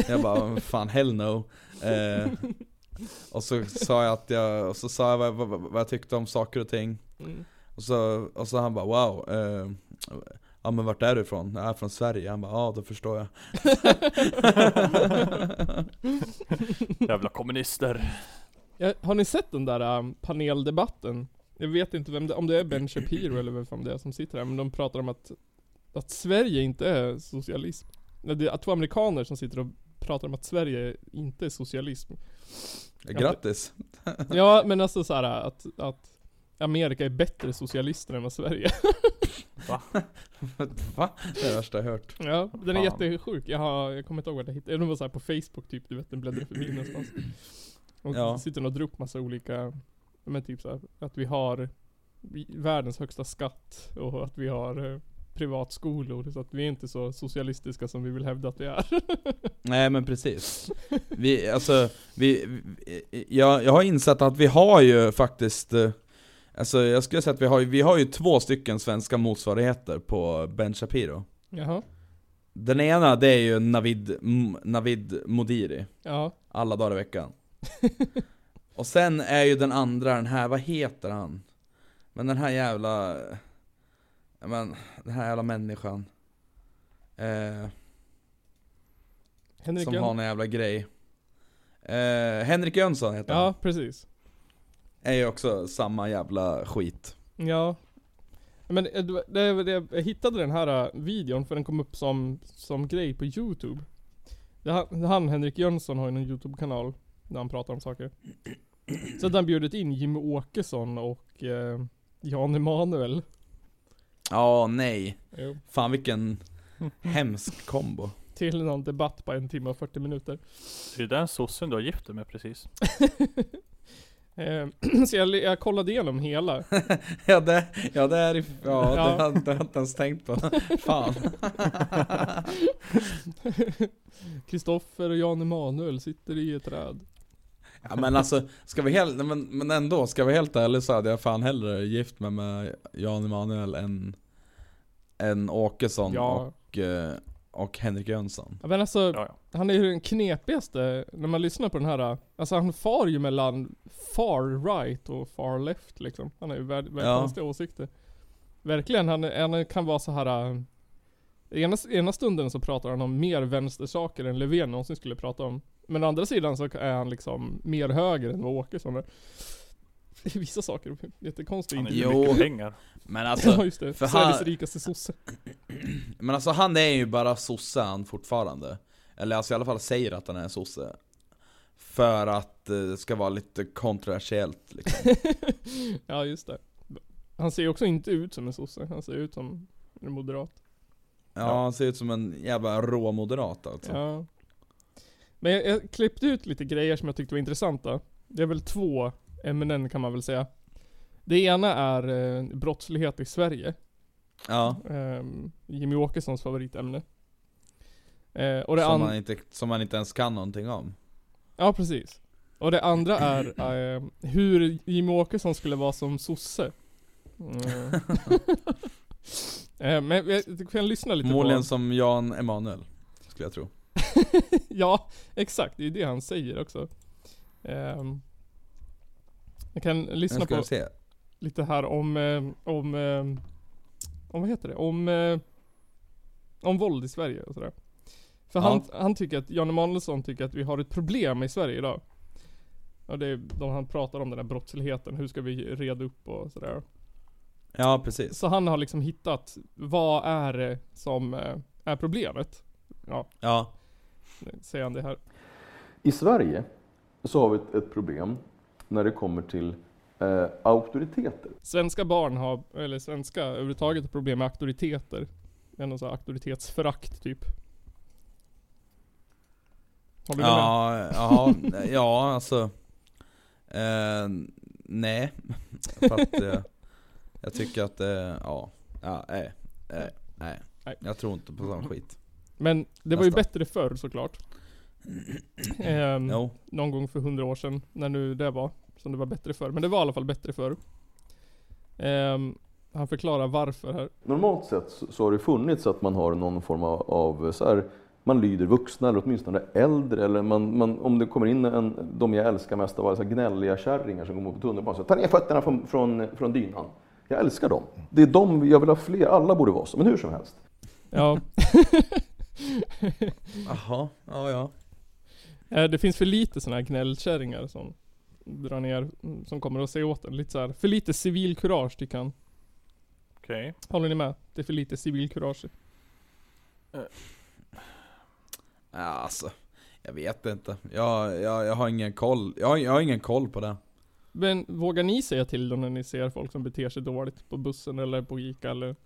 [SPEAKER 1] Jag bara, fan hell no eh, Och så sa jag att jag, och så sa jag vad, vad, vad jag tyckte om saker och ting
[SPEAKER 2] Mm.
[SPEAKER 1] och så, och så han bara wow, eh, ja men vart är du ifrån? Jag är från Sverige, han bara ja då förstår jag
[SPEAKER 3] Jävla kommunister.
[SPEAKER 2] Ja, har ni sett den där um, paneldebatten? Jag vet inte vem det, om det är Ben Shapiro eller vem fan det är som sitter här, men de pratar om att, att Sverige inte är socialism. Nej, det är två amerikaner som sitter och pratar om att Sverige inte är socialism.
[SPEAKER 1] Grattis!
[SPEAKER 2] Ja, men alltså så här att, att Amerika är bättre socialister än vad Sverige är.
[SPEAKER 1] Va? Det är det värsta jag hört
[SPEAKER 2] Ja, den är
[SPEAKER 3] Fan.
[SPEAKER 2] jättesjuk. Jag, har, jag kommer inte ihåg vad det hittade. Den var så här på Facebook typ, du vet den bläddrar förbi någonstans. Och
[SPEAKER 1] Ja.
[SPEAKER 2] sitter och drar upp massa olika, men typ så här, att vi har vi- världens högsta skatt och att vi har eh, privatskolor. Så att vi är inte så socialistiska som vi vill hävda att vi är.
[SPEAKER 1] Nej men precis Vi, alltså, vi, vi jag, jag har insett att vi har ju faktiskt eh, Alltså jag skulle säga att vi har ju, vi har ju två stycken svenska motsvarigheter på Ben Shapiro
[SPEAKER 2] Jaha.
[SPEAKER 1] Den ena det är ju Navid, M- Navid Modiri
[SPEAKER 2] Ja.
[SPEAKER 1] Alla dagar i veckan. och sen är ju den andra den här, vad heter han? Men den här jävla... ja, Men, den här jävla människan. Eh,
[SPEAKER 2] Henrik
[SPEAKER 1] som
[SPEAKER 2] Jön-
[SPEAKER 1] har någon jävla grej. Eh, Henrik Jönsson heter han.
[SPEAKER 2] Ja, precis.
[SPEAKER 1] Är ju också samma jävla skit.
[SPEAKER 2] Ja. Men eh, det, var- det, var det, jag hittade den här eh, videon för den kom upp som, som grej på Youtube. Det, han- han Henrik Jönsson har ju en Youtube-kanal där han pratar om saker. Så att han bjudit in Jimmy Åkesson och eh, Jan Emanuel.
[SPEAKER 1] Ja, nej. Fan vilken hemsk kombo.
[SPEAKER 2] Till någon debatt på en timme och 40 minuter.
[SPEAKER 3] Det är den sossen du har gift dig med precis.
[SPEAKER 2] Eh, så jag, jag kollade igenom hela.
[SPEAKER 1] ja, det, ja, det är... Ja, ja. Det,
[SPEAKER 2] Ja.
[SPEAKER 1] har- det har jag inte ens tänkt på. Fan.
[SPEAKER 2] Kristoffer och Jan Emanuel sitter i ett träd.
[SPEAKER 1] Ja men alltså, ska vi helt, men, men ändå, ska vi helt ärligt så hade jag fan hellre gift mig med Jan Emanuel än, än Åkesson
[SPEAKER 2] Ja.
[SPEAKER 1] och, eh, och Henrik Jönsson.
[SPEAKER 2] Ja, Men alltså,
[SPEAKER 3] Ja, ja.
[SPEAKER 2] Han är ju den knepigaste, när man lyssnar på den här, alltså han far ju mellan far right och far left liksom. Han har ju värd- väldigt
[SPEAKER 1] Ja.
[SPEAKER 2] konstiga åsikter. Verkligen, han, han kan vara så här. äh, Ena, ena stunden så pratar han om mer vänstersaker än Löfven någonsin skulle prata om. Men å andra sidan så är han liksom mer höger än vad Åkesson är. vissa saker. Jättekonstigt.
[SPEAKER 3] Han är
[SPEAKER 2] intervju.
[SPEAKER 1] Jo.
[SPEAKER 3] ju mycket pengar.
[SPEAKER 1] Men alltså,
[SPEAKER 2] Ja just det,
[SPEAKER 1] för
[SPEAKER 2] Sveriges
[SPEAKER 1] han-
[SPEAKER 2] rikaste sosse.
[SPEAKER 1] Men alltså han är ju bara sosse han fortfarande. Eller alltså i alla fall säger att han är sosse. För att eh, det ska vara lite kontroversiellt liksom.
[SPEAKER 2] ja just det. Han ser ju också inte ut som en sosse, han ser ut som en moderat.
[SPEAKER 1] Ja han ser ut som en jävla råmoderat alltså.
[SPEAKER 2] Ja. Men jag, jag klippte ut lite grejer som jag tyckte var intressanta. Det är väl två ämnen kan man väl säga. Det ena är eh, brottslighet i Sverige.
[SPEAKER 1] Ja.
[SPEAKER 2] Ehm, Jimmy Åkessons favoritämne. Eh, och det
[SPEAKER 1] Som,
[SPEAKER 2] andra...
[SPEAKER 1] man inte, som man inte ens kan någonting om.
[SPEAKER 2] Ja, precis. Och det andra är eh, hur Jimmie Åkesson skulle vara som sosse. Mm. eh, men jag jag kan lyssna lite
[SPEAKER 1] Förmodligen
[SPEAKER 2] på...
[SPEAKER 1] som Jan Emanuel. Skulle jag tro.
[SPEAKER 2] Ja, exakt. Det är det han säger också. Ehm, jag kan
[SPEAKER 1] Nu
[SPEAKER 2] lyssna
[SPEAKER 1] ska
[SPEAKER 2] på
[SPEAKER 1] vi se.
[SPEAKER 2] lite här om... Eh, om, eh, om vad heter det? Om... Eh, om våld i Sverige och sådär.
[SPEAKER 1] Ja.
[SPEAKER 2] För han, han tycker att, Jan Emanuelsson tycker att vi har ett problem i Sverige idag. Och det är, de, han pratar om den här brottsligheten, hur ska vi reda upp och sådär.
[SPEAKER 1] Ja precis.
[SPEAKER 2] Så han har liksom hittat, vad är det som eh, är problemet? Ja,
[SPEAKER 1] Ja.
[SPEAKER 2] säger han det här.
[SPEAKER 7] I Sverige så har vi ett, ett problem när det kommer till eh, auktoriteter.
[SPEAKER 2] Svenska barn har, eller svenska överhuvudtaget, har problem med auktoriteter. Det är någon sån här auktoritetsförakt typ. Håller du med?
[SPEAKER 1] Ja, ja, ja alltså. Eh, nej. För att eh, jag tycker att, eh, ja. ja nej, nej, nej.
[SPEAKER 2] Nej. Mm.
[SPEAKER 1] Jag tror inte på sån skit.
[SPEAKER 2] Men det var ju
[SPEAKER 1] nästa.
[SPEAKER 2] bättre förr såklart. Ehm,
[SPEAKER 1] Jo.
[SPEAKER 2] Någon gång för hundra år sedan, när nu det var. Som det var bättre förr. Men det var i alla fall bättre förr. Ehm, han förklarar varför här.
[SPEAKER 7] Normalt sett så, så har det funnits att man har någon form av, av så här, man lyder vuxna eller åtminstone äldre. Eller man, man, om det kommer in en, de jag älskar mest av alla så här gnälliga kärringar som går på tunnelbanan så ta ner fötterna från, från, från dynan. Jag älskar dem. Det är de jag vill ha fler, alla borde vara så, men hur som helst.
[SPEAKER 2] Ja.
[SPEAKER 1] Jaha, ja ja.
[SPEAKER 2] Eh, Det finns för lite sådana här gnällkärringar som drar ner, mm, som kommer och säger åt en. Lite så här, för lite civilkurage tycker han.
[SPEAKER 3] Okej.
[SPEAKER 2] Håller ni med? Det är för lite civilkurage.
[SPEAKER 1] Ja, Alltså, jag vet inte. Jag, jag, jag har ingen koll. Jag, har- jag har ingen koll på det.
[SPEAKER 2] Men vågar ni säga till dem när ni ser folk som beter sig dåligt på bussen eller på Ica eller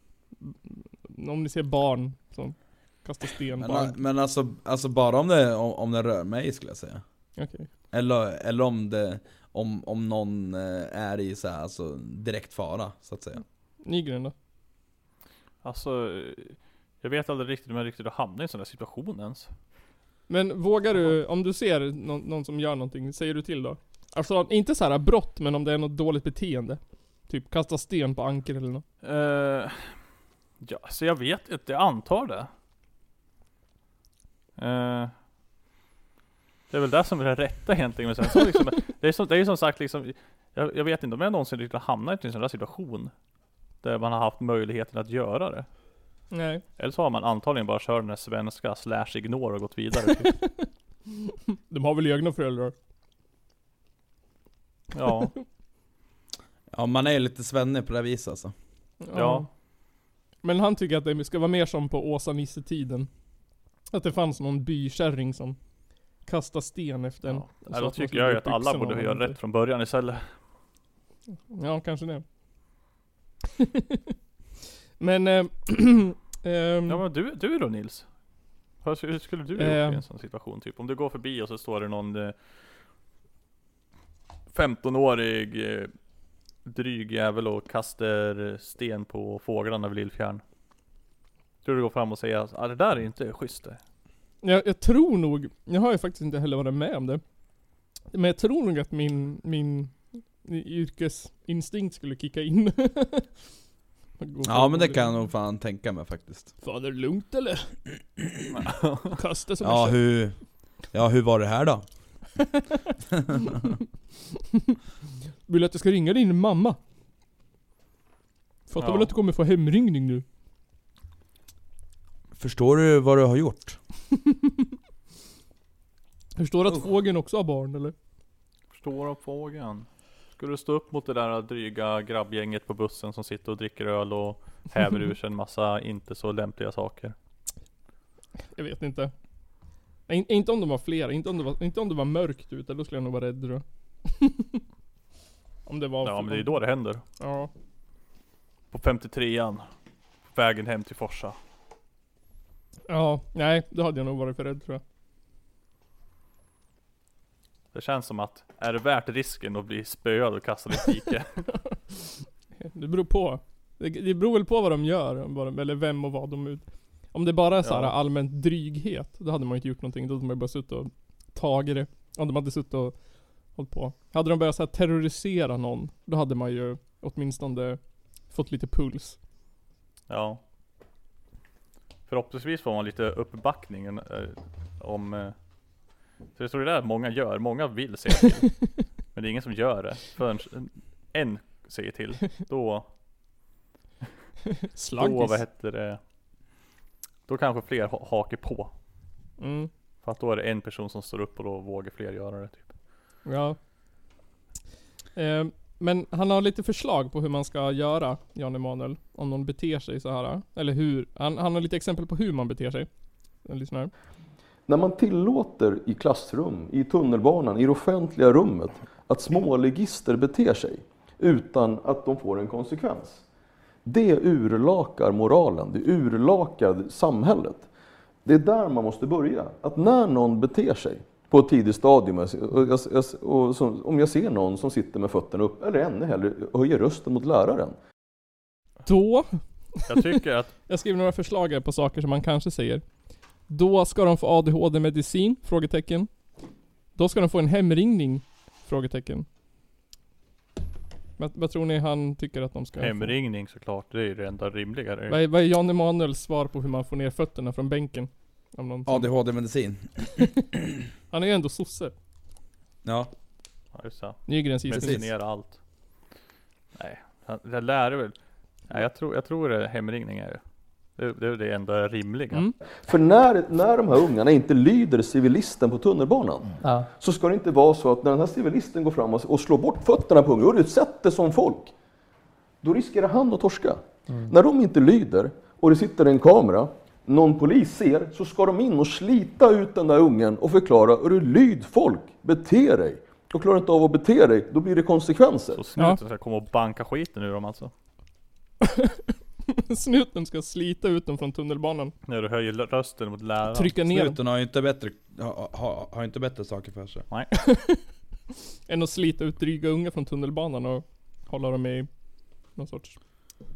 [SPEAKER 2] mm, om ni ser barn som kastar sten på
[SPEAKER 1] Men,
[SPEAKER 2] andra?
[SPEAKER 1] men alltså, alltså bara om det, om, om det rör mig skulle jag säga.
[SPEAKER 2] Okej.
[SPEAKER 1] Eller, eller om det, om, om någon eh, är i så här, alltså direkt fara så att säga.
[SPEAKER 2] Nygren då?
[SPEAKER 3] Alltså, eh, jag vet aldrig riktigt om jag riktigt har hamnat i en sån där situation ens.
[SPEAKER 2] Men vågar du, om du ser någon, någon som gör någonting, säger du till då? Alltså inte så här brott, men om det är något dåligt beteende. Typ kasta sten på anker eller något.
[SPEAKER 3] Eh, ja, så jag vet inte, jag antar det. Eh, det är väl det som är det rätta egentligen. Men sen så liksom, det, är som, det är ju som sagt liksom, jag, jag vet inte om jag någonsin riktigt har hamnat i en sån där situation. Där man har haft möjligheten att göra det.
[SPEAKER 2] Nej.
[SPEAKER 3] Eller så har man antagligen bara kört den här svenska slash ignore och gått vidare. Typ.
[SPEAKER 2] De har väl egna föräldrar?
[SPEAKER 3] Ja,
[SPEAKER 1] Ja man är ju lite svennig på det här viset alltså.
[SPEAKER 3] ja.
[SPEAKER 2] Men han tycker att det ska vara mer som på Åsa-Nisse-tiden. Att det fanns någon bykärring som kastade sten efter en.
[SPEAKER 3] ja.
[SPEAKER 2] och sa
[SPEAKER 3] Nej, Då
[SPEAKER 2] man
[SPEAKER 3] tycker
[SPEAKER 2] skulle
[SPEAKER 3] jag
[SPEAKER 2] dra
[SPEAKER 3] ju
[SPEAKER 2] upp
[SPEAKER 3] att alla
[SPEAKER 2] yxan om
[SPEAKER 3] borde
[SPEAKER 2] man
[SPEAKER 3] göra
[SPEAKER 2] inte-
[SPEAKER 3] rätt från början istället.
[SPEAKER 2] Ja, kanske det. men... Eh, ehm,
[SPEAKER 3] Ja men du, du då Nils? Hur sk- hur skulle du gjort
[SPEAKER 2] Eh.
[SPEAKER 3] i en sån situation? Typ om du går förbi och så står det någon eh, 15-årig eh, dryg jävel och kastar sten på fåglarna vid Lillfjärden. Tror du du går fram och säger att ah, det där är inte schysst det.
[SPEAKER 2] jag, jag tror nog, jag har ju faktiskt inte heller varit med om det. Men jag tror nog att min, min yrkesinstinkt skulle kicka in. Gå
[SPEAKER 1] Ja
[SPEAKER 2] fram
[SPEAKER 1] men
[SPEAKER 2] och
[SPEAKER 1] det kan jag nog fan tänka mig faktiskt.
[SPEAKER 2] Fan är det lugnt eller? Kasta som
[SPEAKER 1] Ja
[SPEAKER 2] en
[SPEAKER 1] hur, ja hur var det här då?
[SPEAKER 2] Vill du att jag ska ringa din mamma? Fattar
[SPEAKER 3] Ja.
[SPEAKER 2] väl att du kommer få hemringning nu?
[SPEAKER 1] Förstår du vad du har gjort?
[SPEAKER 2] Förstår du att
[SPEAKER 1] Usch.
[SPEAKER 2] fågeln också har barn eller?
[SPEAKER 3] Förstår av fågeln. Skulle du stå upp mot det där dryga grabbgänget på bussen som sitter och dricker öl och häver ur sig en massa inte så lämpliga saker?
[SPEAKER 2] Jag vet inte. Nej, in- inte om de var flera, inte om det var, inte om det var mörkt ute, då skulle jag nog vara rädd tror jag. Om det var...
[SPEAKER 3] Ja men det är ju då det händer.
[SPEAKER 2] Ja.
[SPEAKER 3] På 53an. På vägen hem till Forsa.
[SPEAKER 2] Ja, nej, då hade jag nog varit för rädd tror jag.
[SPEAKER 3] Det känns som att, är det värt risken att bli spöad och kastad i diket?
[SPEAKER 2] Det beror på. Det, det beror väl på vad de gör, om vad de- eller vem och vad de ut. Om det bara är så här
[SPEAKER 3] Ja.
[SPEAKER 2] allmän dryghet, då hade man ju inte gjort någonting. Då hade man ju bara suttit och tagit det. Om de hade suttit och hållit på. Hade de börjat så här terrorisera någon, då hade man ju åtminstone fått lite puls.
[SPEAKER 3] Ja. Förhoppningsvis får man lite uppbackning eh, om... eh, Så det står det där att många gör, många vill se till. men det är ingen som gör det förrän en säger till. Då, då vad
[SPEAKER 2] Slaggis.
[SPEAKER 3] heter det? Då kanske fler ha- hakar på.
[SPEAKER 2] Mm.
[SPEAKER 3] För att då är det en person som står upp och då vågar fler göra det. Typ.
[SPEAKER 2] Ja. Eh, men han har lite förslag på hur man ska göra, Jan Emanuel. Om någon beter sig så här. Eller hur. Han, han har lite exempel på hur man beter sig. Jag lyssnar.
[SPEAKER 7] När man tillåter i klassrum, i tunnelbanan, i det offentliga rummet att småligister beter sig utan att de får en konsekvens. Det urlakar moralen, det urlakar samhället. Det är där man måste börja. Att när någon beter sig på ett tidigt stadium, och jag, jag, och som, om jag ser någon som sitter med fötterna upp, eller ännu hellre höjer rösten mot läraren,
[SPEAKER 2] Då
[SPEAKER 3] Jag tycker att,
[SPEAKER 2] Jag skriver några förslag här på saker som man kanske säger. Då ska de få ADHD-medicin? Frågetecken. Då ska de få en hemringning? Frågetecken. Vad, vad tror ni han tycker att de ska
[SPEAKER 3] hemringning såklart, det är ju det enda rimliga.
[SPEAKER 2] Få? Vad, är, vad är Jan Emanuels svar på hur man får ner fötterna från bänken? Om någon
[SPEAKER 1] ADHD-medicin.
[SPEAKER 2] Han är ju ändå sosse.
[SPEAKER 1] Ja.
[SPEAKER 3] Ja, just det.
[SPEAKER 2] Nygrens
[SPEAKER 1] Precis.
[SPEAKER 2] gissning.
[SPEAKER 3] medicinera allt. Nej, han- det lär väl. Nej, jag tror, jag tror det är hemringning är det. Det, det är det enda rimliga.
[SPEAKER 2] Mm.
[SPEAKER 7] För när, när de här ungarna inte lyder civilisten på tunnelbanan så ska det inte vara så att när den här civilisten går fram och, och slår bort fötterna på ungen och utsätter som folk, då riskerar han att torska. När de inte lyder och det sitter en kamera, någon polis ser, så ska de in och slita ut den där ungen och förklara "Är du lyd folk, bete dig. Och klarar du inte av att bete dig, då blir det konsekvenser.
[SPEAKER 3] Så snuten ska komma och banka skiten ur dem alltså.
[SPEAKER 2] Snuten ska slita ut dem från tunnelbanan.
[SPEAKER 3] När du höjer l- rösten mot läraren.
[SPEAKER 2] Trycka ner dem.
[SPEAKER 1] Snuten har ju inte bättre, har, har, har inte bättre saker för sig.
[SPEAKER 2] Än att slita ut dryga unga från tunnelbanan och hålla dem i någon sorts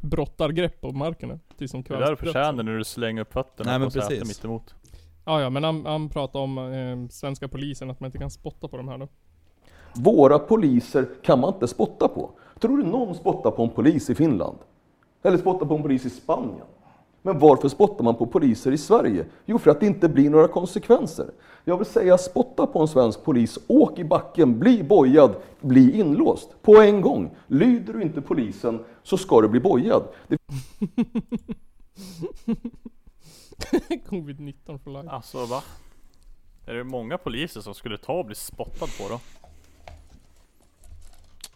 [SPEAKER 2] brottargrepp på marken. Tills de
[SPEAKER 3] Det är där du
[SPEAKER 2] kvävs.
[SPEAKER 3] förtjänar när du slänger upp fötterna
[SPEAKER 1] Nej, men
[SPEAKER 3] på sätet
[SPEAKER 1] precis.
[SPEAKER 3] mittemot.
[SPEAKER 2] Ja, ja men han, han pratar om eh, svenska polisen, att man inte kan spotta på de här då.
[SPEAKER 7] Våra poliser kan man inte spotta på. Tror du någon spottar på en polis i Finland? Eller spottar på en polis i Spanien? Men varför spottar man på poliser i Sverige? Jo, för att det inte blir några konsekvenser. Jag vill säga, spotta på en svensk polis, åk i backen, bli bojad, bli inlåst. På en gång. Lyder du inte polisen så ska du bli bojad. Det
[SPEAKER 2] Covid-19 för life.
[SPEAKER 3] Alltså va? Är det många poliser som skulle ta och bli spottad på då?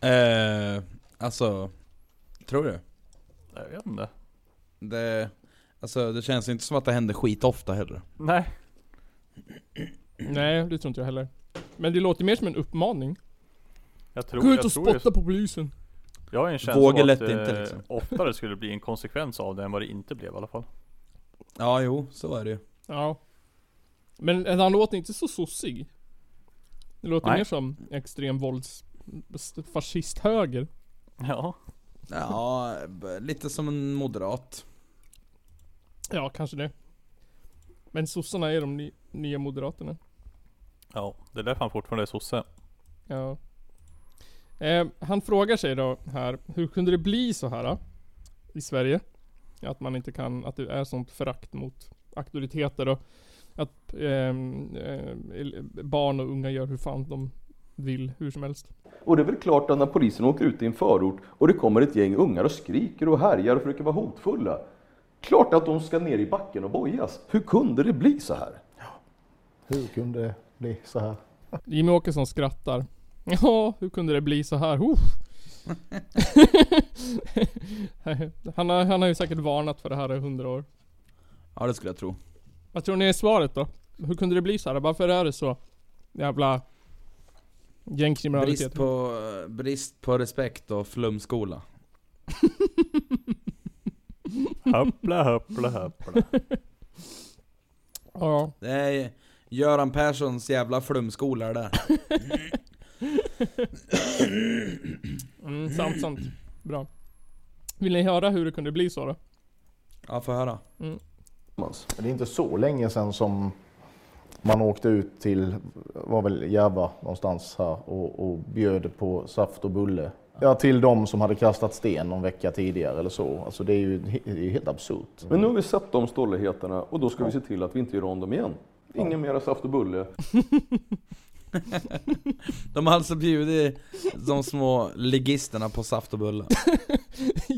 [SPEAKER 1] Eh, alltså, tror du?
[SPEAKER 3] Jag vet inte.
[SPEAKER 1] Det, alltså, det känns inte som att det händer skit ofta heller.
[SPEAKER 3] Nej.
[SPEAKER 2] Nej, det tror inte jag heller. Men det låter mer som en uppmaning.
[SPEAKER 3] Jag tror,
[SPEAKER 2] Gå ut
[SPEAKER 3] jag
[SPEAKER 2] och
[SPEAKER 3] tror just-
[SPEAKER 2] spotta på polisen.
[SPEAKER 3] Jag har en känsla
[SPEAKER 1] Vågar
[SPEAKER 3] av att
[SPEAKER 1] lätt
[SPEAKER 3] eh,
[SPEAKER 1] inte, liksom.
[SPEAKER 3] oftare skulle det bli en konsekvens av det än vad det inte blev i alla fall.
[SPEAKER 1] Ja, jo, så är det ju.
[SPEAKER 2] Ja. Men eh, han låter inte så sossig. Det låter
[SPEAKER 3] Nej.
[SPEAKER 2] mer som extrem vålds... fascisthöger.
[SPEAKER 3] Ja.
[SPEAKER 1] Ja, b- lite som en moderat.
[SPEAKER 2] Ja, kanske det. Men sossarna är de ny, nya moderaterna.
[SPEAKER 3] Ja, det är därför han fortfarande är sosse.
[SPEAKER 2] Ja. Eh, han frågar sig då här, hur kunde det bli så här eh, i Sverige? Att man inte kan, att det är sånt förakt mot auktoriteter och att ehm, eh, barn och unga gör hur fan de vill, hur som helst.
[SPEAKER 7] Och det är väl klart att när polisen åker ut i en förort och det kommer ett gäng ungar och skriker och härjar och försöker vara hotfulla. Klart att de ska ner i backen och bojas. Hur kunde det bli så här?
[SPEAKER 8] Hur kunde det bli så här?
[SPEAKER 2] Jimmy Åkesson skrattar. Ja, hur kunde det bli så här? Oh. han, har, han har ju säkert varnat för det här i hundra år.
[SPEAKER 1] Ja det skulle jag tro.
[SPEAKER 2] Vad tror ni är svaret då? Hur kunde det bli så här? Varför är det så? Jävla gängkriminalitet.
[SPEAKER 1] Brist på, brist på respekt och flumskola.
[SPEAKER 3] Hoppla, hoppla, hoppla.
[SPEAKER 2] Ja.
[SPEAKER 1] Det är Göran Perssons jävla flumskola det där.
[SPEAKER 2] Mm, sant, sant. Bra. Vill ni höra hur det kunde bli så då?
[SPEAKER 1] Ja, får höra.
[SPEAKER 7] Mans.
[SPEAKER 8] Det är inte så länge sedan som man åkte ut till, var väl Järva någonstans här och, och bjöd på saft och bulle. Ja, till de som hade kastat sten någon vecka tidigare eller så. Alltså det är ju he- det är ju helt absurt.
[SPEAKER 7] Men nu har vi sett de stolligheterna och då ska vi se till att vi inte gör om dem igen. Ingen mera saft och bulle.
[SPEAKER 1] De har alltså bjudit de små ligisterna på saft och bulle.
[SPEAKER 2] ja.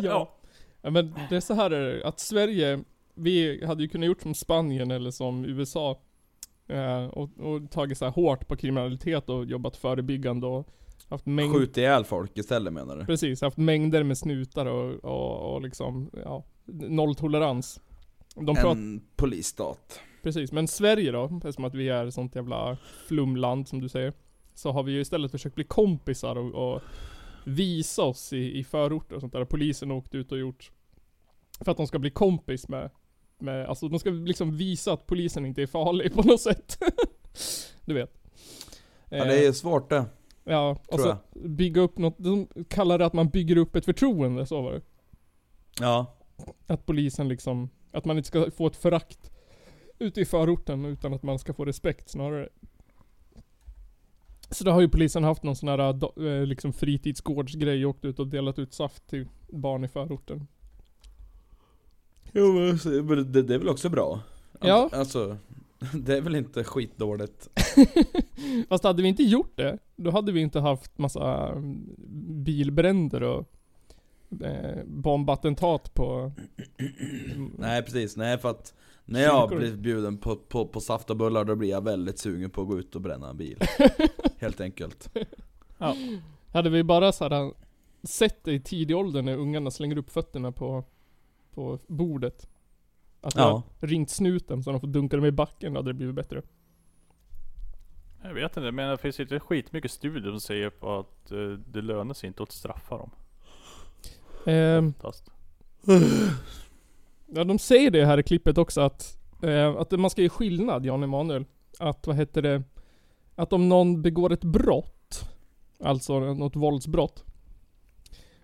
[SPEAKER 2] ja. Men det är så här är det, att Sverige, vi hade ju kunnat gjort som Spanien eller som USA. Eh, och, och tagit så här hårt på kriminalitet och jobbat förebyggande och haft mängd...
[SPEAKER 1] Skjuta ihjäl folk istället menar du?
[SPEAKER 2] Precis, haft mängder med snutar och, och, och liksom, ja, nolltolerans. De pratar,
[SPEAKER 1] En polisstat.
[SPEAKER 2] precis, men Sverige då, eftersom att vi är ett sånt jävla flumland som du säger. Så har vi ju istället försökt bli kompisar och, och visa oss i, i förorter och sånt där. Polisen har åkt ut och gjort, för att de ska bli kompis med, med alltså de ska liksom visa att polisen inte är farlig på något sätt. du vet.
[SPEAKER 1] Ja,
[SPEAKER 2] Eh.
[SPEAKER 1] det är ju svårt det.
[SPEAKER 2] Ja, och
[SPEAKER 1] Tror
[SPEAKER 2] så bygga upp något, de kallar det att man bygger upp ett förtroende, så var det.
[SPEAKER 1] Ja.
[SPEAKER 2] Att polisen liksom, att man inte ska få ett förakt ute i förorten utan att man ska få respekt snarare. Så då har ju polisen haft någon sån här da- eh, liksom fritidsgårdsgrej och åkt ut och delat ut saft till barn i förorten.
[SPEAKER 1] Jo men så- men det, det är väl också bra? Att-
[SPEAKER 2] Ja. Mm.
[SPEAKER 1] Alltså, det är väl inte skitdåligt?
[SPEAKER 2] Fast hade vi inte gjort det, då hade vi inte haft massa mm, bilbränder och eh, bombattentat på...
[SPEAKER 1] Nej precis, nej för att när jag
[SPEAKER 2] Kyrkor.
[SPEAKER 1] blir bjuden på, på, på saft och bullar då blir jag väldigt sugen på att gå ut och bränna en bil. Helt enkelt.
[SPEAKER 2] Hade vi bara så här äh, sett det i tidig ålder när ungarna slänger upp fötterna på, på bordet. Att vi
[SPEAKER 1] Ja.
[SPEAKER 2] har ringt snuten så de får dunka dem i backen, då hade det blivit bättre.
[SPEAKER 3] Jag vet inte, men det finns ju skitmycket studier som säger på att eh, det lönar sig inte att straffa dem.
[SPEAKER 2] Ehm,
[SPEAKER 3] Fast.
[SPEAKER 2] ja, de säger det här i klippet också att, eh, att man ska ge skillnad, Jan Emanuel. Att vad heter det? Att om någon begår ett brott, alltså något våldsbrott.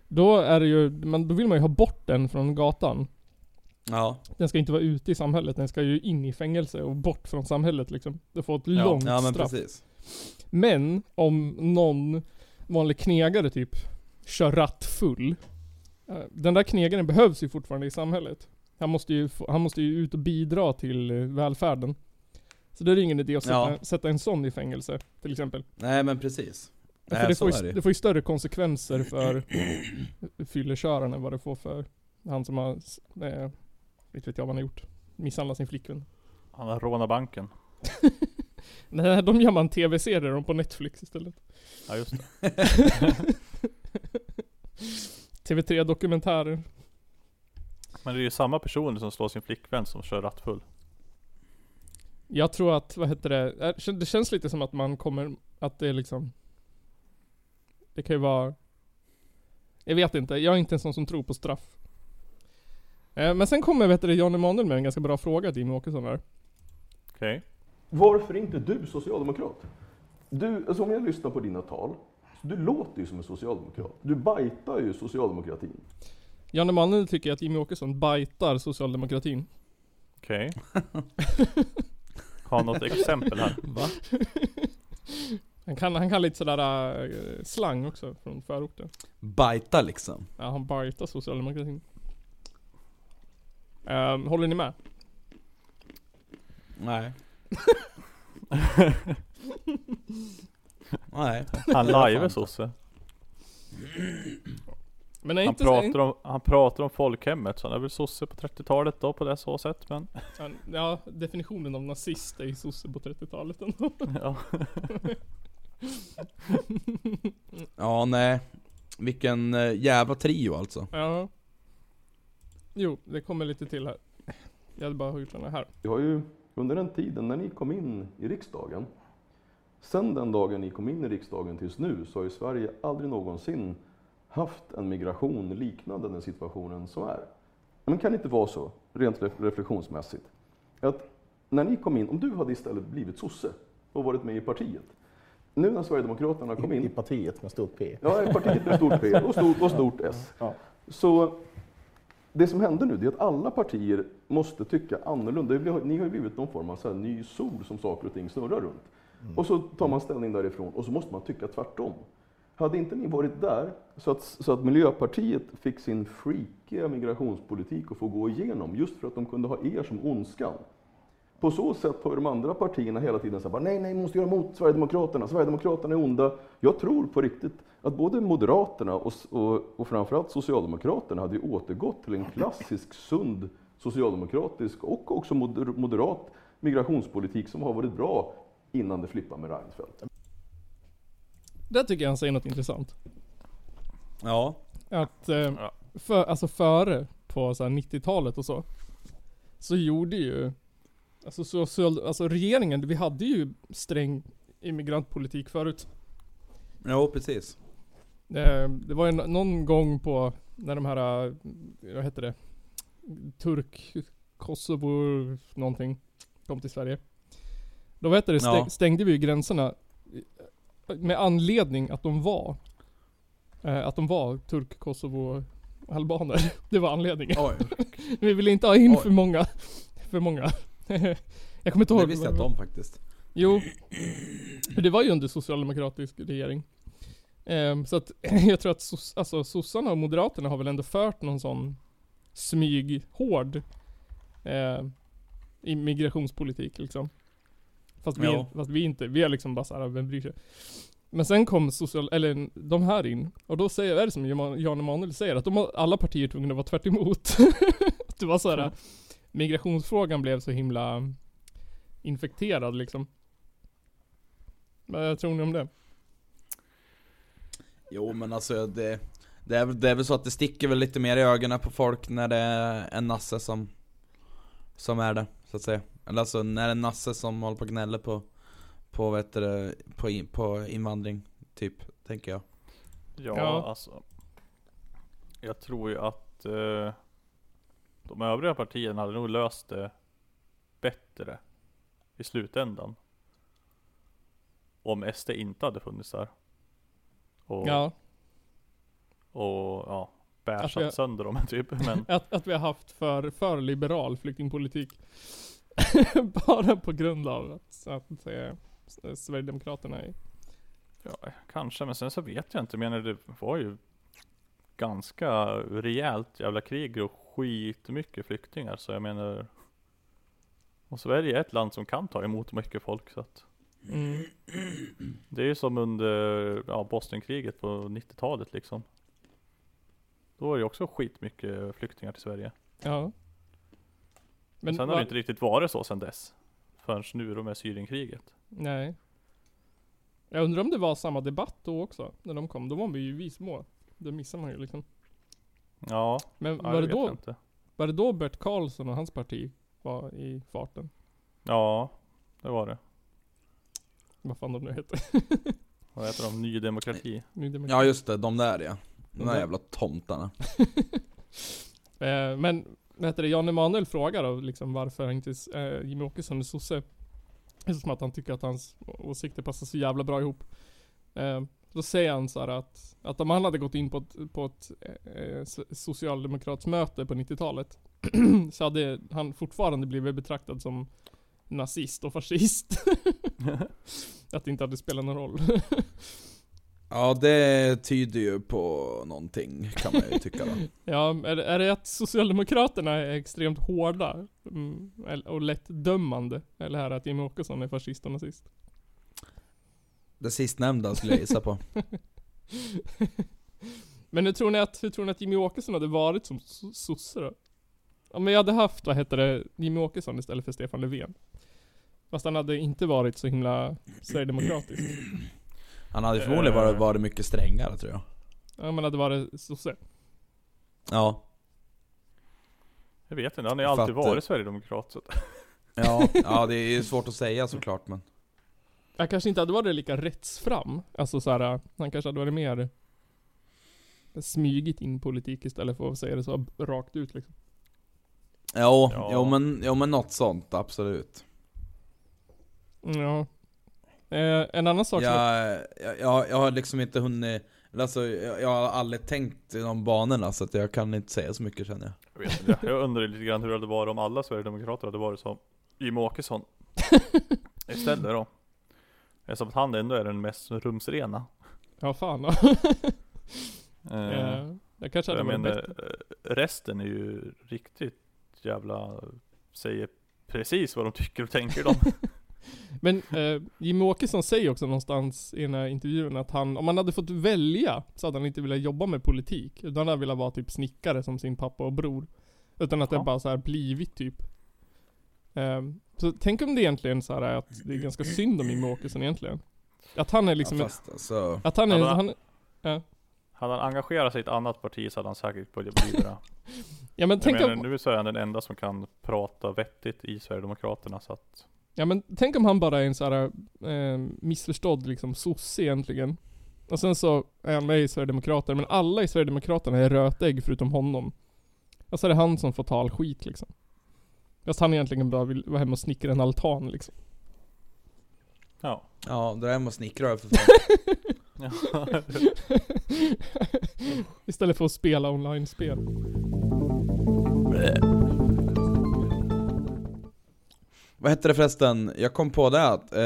[SPEAKER 2] Då är det ju, men då vill man ju ha bort den från gatan.
[SPEAKER 1] Ja,
[SPEAKER 2] Den ska inte vara ute i samhället, den ska ju in i fängelse och bort från samhället liksom. Det får ett långt
[SPEAKER 1] ja men
[SPEAKER 2] straff.
[SPEAKER 1] precis.
[SPEAKER 2] Men om någon vanlig knegare typ kör rattfull. eh, Den där knegaren behövs ju fortfarande i samhället. Han måste ju, få, han måste ju ut och bidra till eh, välfärden. Så då är det ingen idé att sätta,
[SPEAKER 1] Ja.
[SPEAKER 2] sätta en sån i fängelse till exempel.
[SPEAKER 1] Nej men precis.
[SPEAKER 2] för
[SPEAKER 1] Nej,
[SPEAKER 2] det
[SPEAKER 1] så
[SPEAKER 2] får,
[SPEAKER 1] är det
[SPEAKER 2] ju,
[SPEAKER 1] ju.
[SPEAKER 2] det får ju större konsekvenser för fylleköraren än vad det får för han som har, s- eh, inte vet jag vad han har gjort, misshandlat sin flickvän.
[SPEAKER 3] Han har rånat banken.
[SPEAKER 2] Nej, de gör man tv-serier om på Netflix istället.
[SPEAKER 3] Ja just det.
[SPEAKER 2] TV3 dokumentärer.
[SPEAKER 3] Men det är ju samma person som slår sin flickvän som kör rattfull.
[SPEAKER 2] Jag tror att, vad heter det, eh, kän- det känns lite som att man kommer, att det är liksom Det kan ju vara Jag vet inte, jag är inte en sån som tror på straff. Eh, Men sen kommer, vet du, Jan Emanuel med en ganska bra fråga till Jimmie Åkesson där.
[SPEAKER 3] Okej.
[SPEAKER 7] Varför är inte du socialdemokrat? Du, alltså om jag lyssnar på dina tal, så du låter ju som en socialdemokrat. Du bajtar ju socialdemokratin.
[SPEAKER 2] Jan Emanuel tycker att Jimmie Åkesson bajtar socialdemokratin.
[SPEAKER 3] Okej. Har något exempel här? Va?
[SPEAKER 2] Han kan, han kan lite sådär eh, slang också från förorten.
[SPEAKER 1] Bajta liksom.
[SPEAKER 2] Ja, han bajtar socialdemokratin. Eh, håller ni med?
[SPEAKER 1] Nej. Nej.
[SPEAKER 3] Han lajvar sosse.
[SPEAKER 2] Men är
[SPEAKER 3] Han
[SPEAKER 2] inte,
[SPEAKER 3] pratar, om, han pratar om folkhemmet, så han är väl sosse på 30-talet då på det så sätt. Men
[SPEAKER 2] Han- Ja, definitionen av nazist är ju sosse på 30-talet ändå.
[SPEAKER 3] ja.
[SPEAKER 1] Ja, nej. Vilken eh, jävla trio alltså.
[SPEAKER 2] Ja. Jo, det kommer lite till här. Jag hade bara huggit den här.
[SPEAKER 7] Vi har ju under den tiden när ni kom in i riksdagen, sen den dagen ni kom in i riksdagen tills nu så har ju Sverige aldrig någonsin haft en migration liknande den situationen som är. Men kan det inte vara så, rent ref- reflektionsmässigt, att när ni kom in, om du hade istället blivit sosse och varit med i partiet, nu när Sverigedemokraterna kom
[SPEAKER 8] I
[SPEAKER 7] in,
[SPEAKER 8] partiet med stort P.
[SPEAKER 7] Ja, partiet med stort P och stort, och stort S.
[SPEAKER 8] Ja.
[SPEAKER 7] Så det som händer nu det är att alla partier måste tycka annorlunda. Det blir- Ni har ju blivit någon form av så här ny sol som saker och ting snurrar runt.
[SPEAKER 8] Mm.
[SPEAKER 7] Och så tar man ställning därifrån och så måste man tycka tvärtom. Hade inte ni varit där så att, så att Miljöpartiet fick sin freakiga migrationspolitik att få gå igenom just för att de kunde ha er som ondskan. På så sätt har ju de andra partierna hela tiden sagt nej, nej, vi måste göra emot Sverigedemokraterna, Sverigedemokraterna är onda. Jag tror på riktigt att både Moderaterna och, s- och, och framförallt Socialdemokraterna hade ju återgått till en klassisk, sund socialdemokratisk och också moder- moderat migrationspolitik som har varit bra innan det flippade med Reinfeldt.
[SPEAKER 2] Där tycker jag han säger något intressant.
[SPEAKER 1] Ja.
[SPEAKER 2] Att, eh,
[SPEAKER 3] Ja.
[SPEAKER 2] för, alltså före, på så här 90-talet och så. Så gjorde ju, alltså, så, så, alltså regeringen, vi hade ju sträng immigrantpolitik förut.
[SPEAKER 1] Jo, precis.
[SPEAKER 2] Eh, Det var ju nå- någon gång på när de här, eh, vad heter det? Turk, Kosovo, någonting kom till Sverige. Då vad heter det, stäng,
[SPEAKER 1] Ja.
[SPEAKER 2] stängde vi ju gränserna eh, med anledning att de var eh, att de var turk, Kosovo, albaner. Det var anledningen.
[SPEAKER 1] Oj,
[SPEAKER 2] Vi ville inte ha in
[SPEAKER 1] Oj.
[SPEAKER 2] för många. För många. Jag kommer inte ihåg.
[SPEAKER 1] det visste jag inte om faktiskt.
[SPEAKER 2] Jo. För det var ju under socialdemokratisk regering. Ehm, så att jag tror att sos, alltså, sossarna och moderaterna har väl ändå fört någon sån smyghård eh, i migrationspolitik liksom. Fast vi,
[SPEAKER 1] Ja.
[SPEAKER 2] fast vi inte, vi är liksom bara såhär, vem bryr sig? Men sen kom social, eller de här in, och då säger, är det som Jan Jan Emanuel säger, att de har alla partier tvungna att vara tvärt emot. att det var såhär, migrationsfrågan blev så himla infekterad liksom. Men jag tror ni om det?
[SPEAKER 1] Jo men alltså det, det, är, väl- det är väl så att det sticker väl lite mer i ögonen på folk när det är en nasse som Som är det, så att säga Eller alltså när det är en nasse som håller på och gnäller på På vad heter det, på, in, på invandring Typ, tänker jag
[SPEAKER 3] Ja,
[SPEAKER 2] Ja.
[SPEAKER 3] alltså. Jag tror ju att eh, de övriga partierna hade nog löst det bättre i slutändan. Om SD inte hade funnits där. Och,
[SPEAKER 2] Ja,
[SPEAKER 3] och ja, bärsat
[SPEAKER 2] Alltså, jag-
[SPEAKER 3] sönder dem typ. Men
[SPEAKER 2] att, att vi har haft för, för liberal flyktingpolitik. Bara på grund av att, att eh, S- Sverigedemokraterna är...
[SPEAKER 3] ja, kanske, men sen så vet jag inte. Men det var ju ganska rejält jävla krig och skitmycket flyktingar. Så jag menar. Och Sverige är ett land som kan ta emot mycket folk så att.
[SPEAKER 2] Mm.
[SPEAKER 3] Det är ju som under ja, Bosnienkriget på 90-talet liksom. Då var det ju också skitmycket flyktingar till Sverige.
[SPEAKER 2] Ja.
[SPEAKER 3] Men
[SPEAKER 2] Men
[SPEAKER 3] sen har
[SPEAKER 2] va-
[SPEAKER 3] det inte riktigt varit så sen dess. Förrän nu då med Syrienkriget.
[SPEAKER 2] Nej. Jag undrar om det var samma debatt då också, när de kom. Då var vi ju vi små. Det missar man ju liksom.
[SPEAKER 3] Ja,
[SPEAKER 2] Men
[SPEAKER 3] ja
[SPEAKER 2] var, det
[SPEAKER 3] vet jag
[SPEAKER 2] då,
[SPEAKER 3] inte.
[SPEAKER 2] var det då Bert Karlsson och hans parti var i farten?
[SPEAKER 3] Ja, det var det.
[SPEAKER 2] Vad fan de nu heter.
[SPEAKER 3] Vad heter de? Ny Demokrati?
[SPEAKER 2] Ny Demokrati.
[SPEAKER 1] Ja just det, de där ja De där
[SPEAKER 2] där.
[SPEAKER 1] jävla tomtarna
[SPEAKER 2] Eh, men, vad heter det, Jan Emanuel frågar då liksom varför inte eh, Jimmy Åkesson är sosse. Eftersom att han tycker att hans åsikter passar så jävla bra ihop. Eh, då säger han så här att, att om han hade gått in på ett, på ett eh, so- socialdemokratsmöte på 90-talet så hade han fortfarande blivit betraktad som nazist och fascist. att det inte hade spelat någon roll.
[SPEAKER 1] Ja det tyder ju på någonting kan man ju tycka då
[SPEAKER 2] Ja, är det, är det att Socialdemokraterna är extremt hårda mm, eller- och lättdömande? Eller är det att Jimmie Åkesson är fascist och nazist?
[SPEAKER 1] Det sistnämnda skulle jag gissa på
[SPEAKER 2] Men hur tror ni att, hur tror ni att Jimmie Åkesson hade varit som so- sosse då? Om jag hade haft, vad heter det, Jimmie Åkesson istället för Stefan Löfven. Fast han hade inte varit så himla Sverigedemokratisk.
[SPEAKER 1] Han hade förmodligen varit, varit mycket strängare tror jag.
[SPEAKER 2] Ja men hade varit sosse.
[SPEAKER 1] Ja.
[SPEAKER 3] Jag vet inte, han har ju alltid
[SPEAKER 2] eh,
[SPEAKER 1] Fattar.
[SPEAKER 3] varit sverigedemokrat. Så att,
[SPEAKER 1] Ja, ja det är svårt att säga såklart men.
[SPEAKER 2] Jag kanske inte hade varit lika rättsfram. Alltså såhär, han kanske hade varit mer smygit in politik istället för att säga det så b- rakt ut liksom.
[SPEAKER 1] Jo,
[SPEAKER 3] Ja.
[SPEAKER 1] jo, men, jo men något sånt, absolut.
[SPEAKER 2] Ja. Eh, en annan sak
[SPEAKER 1] Jag,
[SPEAKER 2] som...
[SPEAKER 1] jag, jag, jag har liksom inte hunnit, eller alltså, jag, jag har aldrig tänkt i de banorna så att jag kan inte säga så mycket känner jag.
[SPEAKER 3] jag, vet inte, jag undrar lite grann hur det hade varit om alla sverigedemokrater hade varit som Jimmie Åkesson. Istället då. Eftersom att han ändå är den mest rumsrena.
[SPEAKER 2] Ja fan.
[SPEAKER 3] Eh,
[SPEAKER 2] Eh, jag kanske hade
[SPEAKER 3] jag
[SPEAKER 2] varit
[SPEAKER 3] menar,
[SPEAKER 2] bättre.
[SPEAKER 3] eh, resten är ju riktigt jävla, säger precis vad de tycker och tänker de.
[SPEAKER 2] Men eh, Jimmie Åkesson säger också någonstans i den här intervjun att han, om han hade fått välja så hade han inte velat jobba med politik. Utan han hade velat vara typ snickare som sin pappa och bror. Utan att det
[SPEAKER 3] Ja.
[SPEAKER 2] bara så här blivit typ. Eh, så tänk om det egentligen så här är att det är ganska synd om Jimmie Åkesson egentligen. Att han är liksom,
[SPEAKER 1] ja, fast alltså,
[SPEAKER 2] att han är,
[SPEAKER 3] Ja, men-
[SPEAKER 2] han,
[SPEAKER 3] Hade han engagerat sig i ett annat parti så hade han säkert börjat bidra.
[SPEAKER 2] ja men
[SPEAKER 3] Jag
[SPEAKER 2] tänk
[SPEAKER 3] menar,
[SPEAKER 2] om,
[SPEAKER 3] nu så är han den enda som kan prata vettigt i Sverigedemokraterna så att
[SPEAKER 2] ja men tänk om han bara är en så här eh, missförstådd liksom sosse egentligen. Och sen så är han med i Sverigedemokraterna, men alla i Sverigedemokraterna är rötägg förutom honom. Och så är det han som får ta all skit liksom. Fast han egentligen bara vill vara hemma och snickra en altan liksom.
[SPEAKER 3] Ja.
[SPEAKER 1] ja det där med att snickra har jag för fan.
[SPEAKER 2] Istället för att spela online-spel.
[SPEAKER 1] Vad hette det förresten? Jag kom på det att, eh,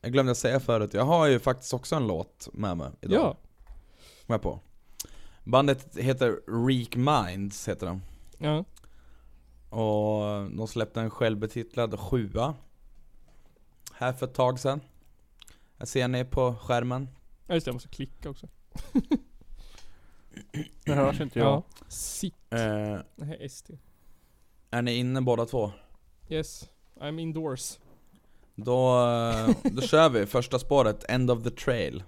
[SPEAKER 1] jag glömde säga förut, jag har ju faktiskt också en låt med mig idag.
[SPEAKER 2] Ja.
[SPEAKER 1] Kom jag på. Bandet heter Reek Minds, heter de.
[SPEAKER 2] ja.
[SPEAKER 1] Och de släppte en självbetitlad sjua Här för ett tag sedan Jag ser ni på skärmen
[SPEAKER 2] Ja just det, jag måste klicka också.
[SPEAKER 3] Nu hörs inte jag.
[SPEAKER 2] Ja. Sitt.
[SPEAKER 1] eh,
[SPEAKER 2] Nej, ST.
[SPEAKER 1] Är ni inne båda två?
[SPEAKER 2] Yes. I'm indoors.
[SPEAKER 1] Då, eh, då kör vi första spåret, End of the trail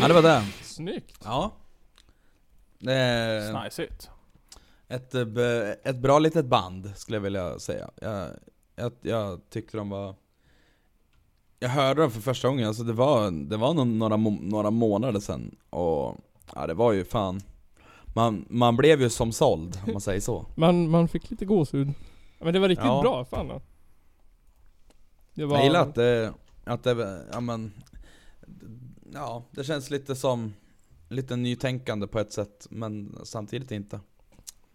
[SPEAKER 1] Ja det var det
[SPEAKER 2] Snyggt.
[SPEAKER 1] Ja eh,
[SPEAKER 3] Snajsigt.
[SPEAKER 1] ett, eh, b- ett bra litet band skulle jag vilja säga jag, jag, jag tyckte de var Jag hörde dem för första gången, alltså det var, det var nog några, må- några månader sedan och ja, det var ju fan man, man blev ju som såld om man säger så
[SPEAKER 2] Man, man fick lite gåshud. Ja, men det var riktigt
[SPEAKER 1] Ja.
[SPEAKER 2] bra, fan. då. Det var,
[SPEAKER 1] Jag gillar att det, att det, ja men Ja, det känns lite som Lite nytänkande på ett sätt men samtidigt inte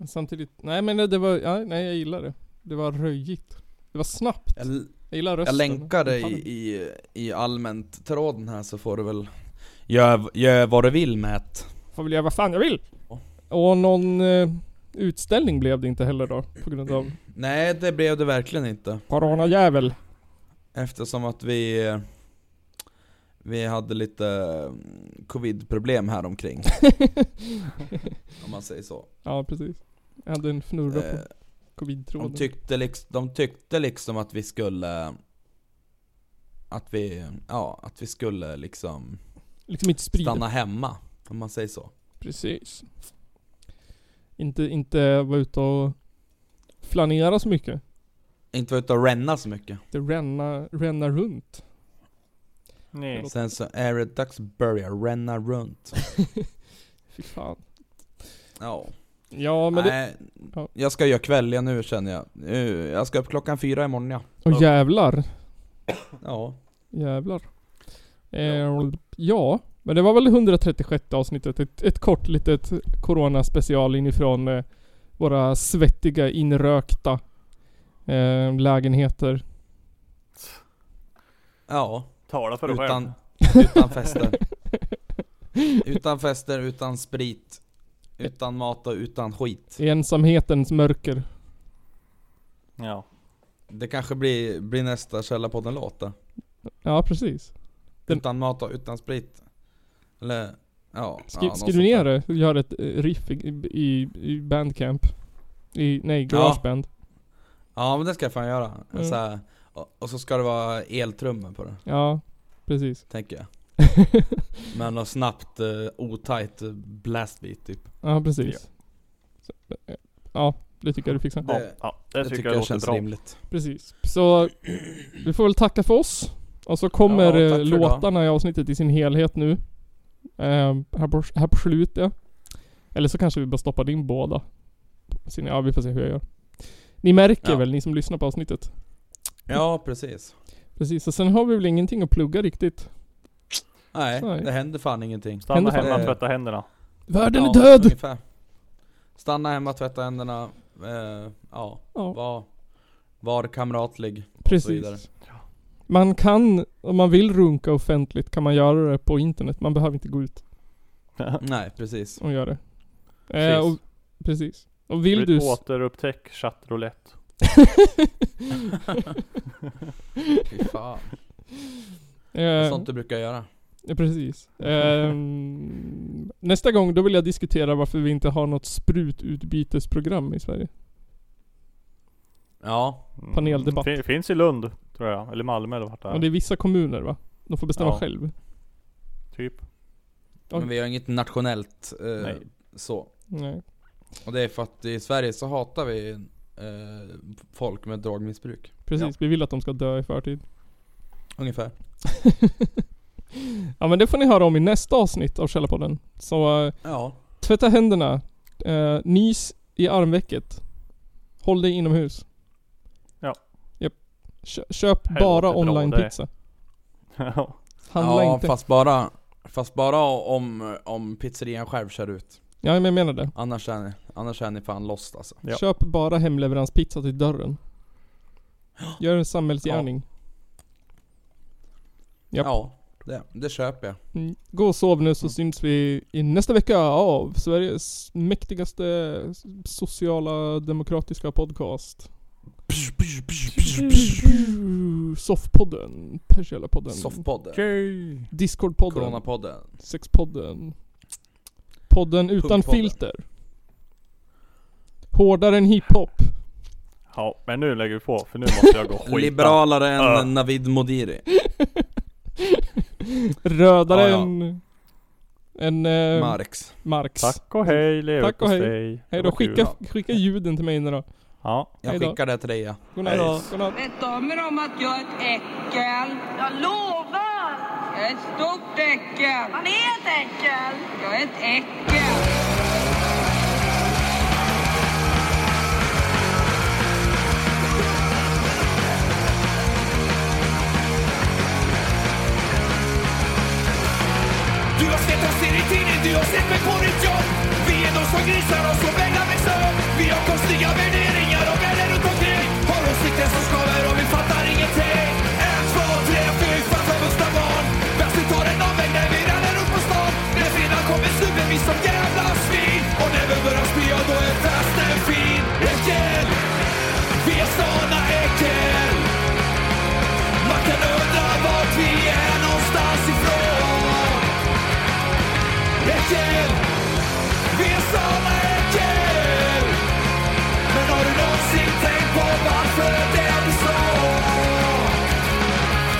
[SPEAKER 2] Samtidigt, nej men det var, ja, nej jag gillar det. Det var röjigt. Det var snabbt.
[SPEAKER 1] Jag l-
[SPEAKER 2] Jag gillar
[SPEAKER 1] Jag
[SPEAKER 2] rösten.
[SPEAKER 1] länkar dig i, i, i allmänt tråden här så får du väl Gör, gör vad du vill med ett.
[SPEAKER 2] Får väl göra vad fan jag vill.
[SPEAKER 1] Ja.
[SPEAKER 2] Och någon eh, utställning blev det inte heller då. På grund av
[SPEAKER 1] Nej det blev det verkligen inte.
[SPEAKER 2] coronajävel.
[SPEAKER 1] Eftersom att vi Vi hade lite mm, covid-problem här omkring Om man säger så.
[SPEAKER 2] ja precis. Jag hade en fnurra
[SPEAKER 1] Eh,
[SPEAKER 2] på covid-tråden.
[SPEAKER 1] de, tyckte liksom, de tyckte liksom att vi skulle Att vi, ja, att vi skulle liksom
[SPEAKER 2] liksom inte sprida.
[SPEAKER 1] stanna hemma. Om man säger så.
[SPEAKER 2] Precis. Inte, inte vara ute och flanera så mycket.
[SPEAKER 1] Inte vara ute och ränna så mycket.
[SPEAKER 2] Inte ränna, ränna runt.
[SPEAKER 3] Nej.
[SPEAKER 1] Sen så är det dags att börja ränna runt.
[SPEAKER 2] Fy fan.
[SPEAKER 1] Ja.
[SPEAKER 2] Ja men det,
[SPEAKER 1] Nej,
[SPEAKER 2] ja.
[SPEAKER 1] jag ska göra kvällen nu känner jag. Nu- Jag ska upp klockan fyra imorgon ja.
[SPEAKER 2] och jävlar.
[SPEAKER 1] Ja.
[SPEAKER 2] Jävlar. Eh, ja. men det var väl 136 avsnittet. Ett, ett kort litet Corona-special inifrån eh, våra svettiga, inrökta eh, lägenheter.
[SPEAKER 1] Ja.
[SPEAKER 3] Tala för dig själv.
[SPEAKER 1] Utan, utan fester. utan fester, utan sprit. Utan mat och utan skit.
[SPEAKER 2] I ensamhetens mörker.
[SPEAKER 3] Ja.
[SPEAKER 1] Det kanske blir, blir nästa Källarpodden-låt då.
[SPEAKER 2] Ja, precis. Den-
[SPEAKER 1] Utan mat och utan sprit. Eller, ja.
[SPEAKER 2] Skri,
[SPEAKER 1] ja, något
[SPEAKER 2] skriv
[SPEAKER 1] sånt
[SPEAKER 2] ner
[SPEAKER 1] där.
[SPEAKER 2] det och gör ett eh, riff i, i, i bandcamp. I, nej,
[SPEAKER 1] Ja.
[SPEAKER 2] garageband.
[SPEAKER 1] Ja men det ska jag fan göra.
[SPEAKER 2] Mm.
[SPEAKER 1] Så här, och, och så ska det vara eltrummor på det,
[SPEAKER 2] Ja. precis.
[SPEAKER 1] tänker jag. Men något snabbt, eh, otajt eh, blastbeat typ.
[SPEAKER 2] Ja, precis. Så, eh, ja, det tycker jag du fixar.
[SPEAKER 3] Ja,
[SPEAKER 1] Det-
[SPEAKER 3] ja, det tycker, jag, låter bra.
[SPEAKER 1] rimligt.
[SPEAKER 2] Precis. Så vi får väl tacka för oss. Och så kommer
[SPEAKER 1] Ja, tack
[SPEAKER 2] eh,
[SPEAKER 1] för
[SPEAKER 2] låtarna i avsnittet i sin helhet nu. Eh, här, på, här på slutet. Eller så kanske vi bara stoppar in båda. Sen, ja, vi får se hur jag gör. Ni märker
[SPEAKER 1] Ja.
[SPEAKER 2] väl, ni som lyssnar på avsnittet? Mm.
[SPEAKER 1] Ja precis.
[SPEAKER 2] Precis, och sen har vi väl ingenting att plugga riktigt.
[SPEAKER 1] Nej,
[SPEAKER 2] Så är det.
[SPEAKER 1] det händer fan ingenting.
[SPEAKER 3] Stanna
[SPEAKER 2] Händer fan-
[SPEAKER 3] hemma och
[SPEAKER 1] Eh,
[SPEAKER 3] tvätta händerna.
[SPEAKER 2] Världen
[SPEAKER 1] ja,
[SPEAKER 2] är död!
[SPEAKER 1] Ungefär. Stanna hemma, tvätta händerna. Eh, ja,
[SPEAKER 2] Ja.
[SPEAKER 1] var, var kamratlig. så vidare.
[SPEAKER 2] Precis. Man kan, om man vill runka offentligt kan man göra det på internet. Man behöver inte gå ut
[SPEAKER 1] Nej precis.
[SPEAKER 2] och göra det. Precis. Eh, och, precis. Och vill du... s-
[SPEAKER 3] Återupptäck chattroulette.
[SPEAKER 1] Fy fan. Det är
[SPEAKER 2] eh,
[SPEAKER 1] sånt du brukar göra.
[SPEAKER 2] ja, precis. Ehm, nästa gång, då vill jag diskutera varför vi inte har något sprututbytesprogram i Sverige.
[SPEAKER 1] Ja,
[SPEAKER 3] Mm.
[SPEAKER 2] Paneldebatt.
[SPEAKER 3] Fin, finns i Lund, tror jag. Eller Malmö eller vart det är.
[SPEAKER 2] Och det är vissa kommuner va? De får bestämma
[SPEAKER 3] Ja.
[SPEAKER 2] själv.
[SPEAKER 3] Typ.
[SPEAKER 1] men vi har inget nationellt eh,
[SPEAKER 3] Nej.
[SPEAKER 1] så.
[SPEAKER 2] Nej.
[SPEAKER 1] Och det är för att i Sverige så hatar vi eh, folk med drogmissbruk.
[SPEAKER 2] Precis, vi vill att de ska dö i förtid.
[SPEAKER 1] Ungefär.
[SPEAKER 2] Ja men det får ni höra om i nästa avsnitt av Källarpodden. Så eh,
[SPEAKER 1] Ja.
[SPEAKER 2] Tvätta händerna. Eh, nys i armvecket. Håll dig inomhus.
[SPEAKER 3] Ja.
[SPEAKER 2] Japp. Kö- köp
[SPEAKER 3] Här
[SPEAKER 2] bara
[SPEAKER 3] låter bra
[SPEAKER 2] onlinepizza.
[SPEAKER 3] Ja.
[SPEAKER 2] Handla
[SPEAKER 1] ja,
[SPEAKER 2] inte.
[SPEAKER 1] fast bara, fast bara om, om pizzerian själv kör ut.
[SPEAKER 2] Ja, men jag menar det.
[SPEAKER 1] Annars är ni, annars är ni fan lost alltså.
[SPEAKER 3] Ja.
[SPEAKER 2] Köp bara hemleveranspizza till dörren. Gör en samhällsgärning. Japp.
[SPEAKER 1] Ja, det, det köper jag.
[SPEAKER 2] Mm. Gå och sov nu så syns vi i nästa vecka av Sveriges mäktigaste sociala demokratiska podcast. Soffpodden, Persiella-podden,
[SPEAKER 1] Soffpodden.
[SPEAKER 3] Okej.
[SPEAKER 2] Discord-podden,
[SPEAKER 1] Coronapodden.
[SPEAKER 2] Sexpodden. Podden utan
[SPEAKER 1] Punktpodden.
[SPEAKER 2] filter. Hårdare än hiphop.
[SPEAKER 3] Ja, men nu lägger vi på för nu måste jag gå och skita.
[SPEAKER 1] Liberalare än
[SPEAKER 3] Ja.
[SPEAKER 1] Navid Modiri.
[SPEAKER 2] Rödare
[SPEAKER 1] Ja, ja.
[SPEAKER 2] än... än eh,
[SPEAKER 1] Marx.
[SPEAKER 2] Marx.
[SPEAKER 3] Tack och hej
[SPEAKER 2] Tack och hej.
[SPEAKER 3] leverpastej.
[SPEAKER 2] Hej
[SPEAKER 3] Det
[SPEAKER 2] då,
[SPEAKER 3] var kul.
[SPEAKER 2] skicka, skicka ljuden till mig nu då.
[SPEAKER 3] Ja.
[SPEAKER 1] Jag
[SPEAKER 2] Hej då.
[SPEAKER 1] skickar det till dig ja.
[SPEAKER 2] Godnatt,
[SPEAKER 3] Hej.
[SPEAKER 2] godnatt.
[SPEAKER 4] Vet de om att jag är ett äckel?
[SPEAKER 5] Jag lovar!
[SPEAKER 4] Jag är ett stort äckel.
[SPEAKER 5] Han är ett äckel!
[SPEAKER 4] Jag är ett äckel.
[SPEAKER 6] Du har svettats ner i tiden, du har sett mig på ditt jobb Vi är de som grisar och som vägrar växa upp Vi har konstiga värderingar och vänner runt omkring Har åsikter som skaver och vi fattar ingenting En, två, tre, fyra, fast som vuxna barn Vänstern tar en omväg när vi rallar upp på stan När fredag kommer snubben vi som jävla svin Och när vi börjar spy, ja då är festen fin Äckel! Vi är såna äckel! Man kan undra vart vi är någonstans ifrån Äckel! Vi är såna äckel! Men har du någonsin tänkt på varför det blir så?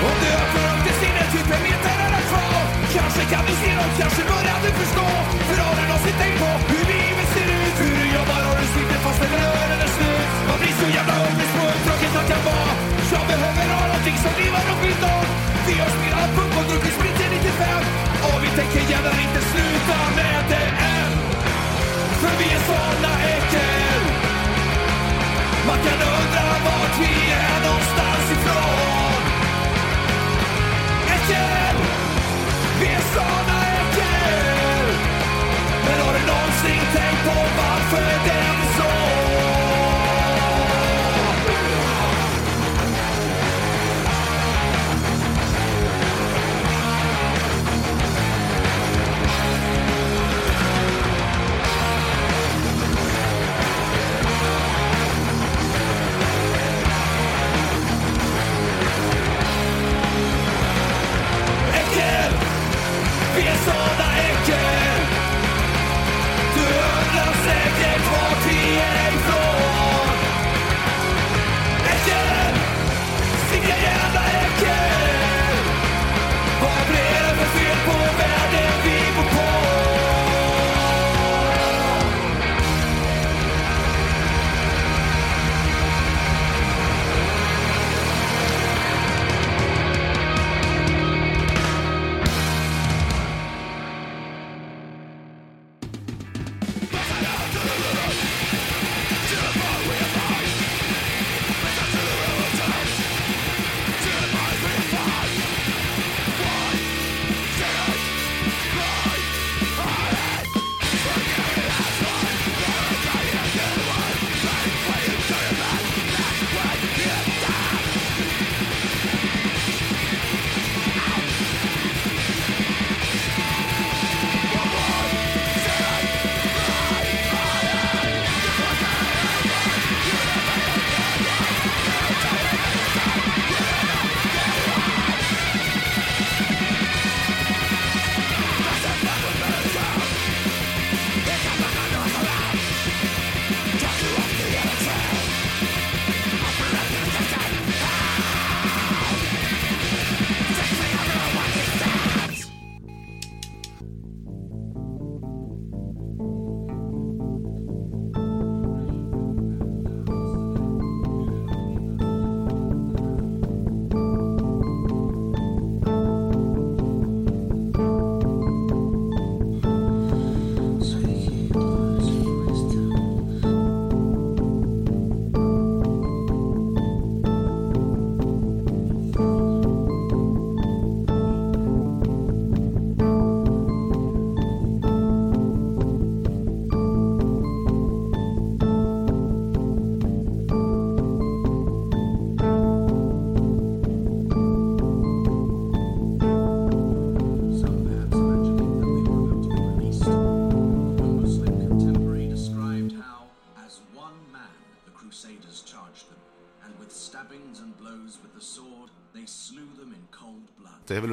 [SPEAKER 6] Om du öppnar upp ditt sinne typ en meter eller två Kanske kan du se nåt, kanske börjar du förstå För har du någonsin tänkt på hur livet ser ut? Hur du jobbar och du sitter fast över öronen är slut Man blir så jävla hungrig, så uttråkigt att jag var Jag behöver ha någonting som livar upp mitt dag Vi har spelat pump och druckit sprit till 95 Och vi tänker gärna inte sluta med det än För vi är såna äckel Man kan undra vart vi är någonstans ifrån Äckel! Vi är såna äckel! Men har du någonsin tänkt på varför det är så?
[SPEAKER 8] Det är väl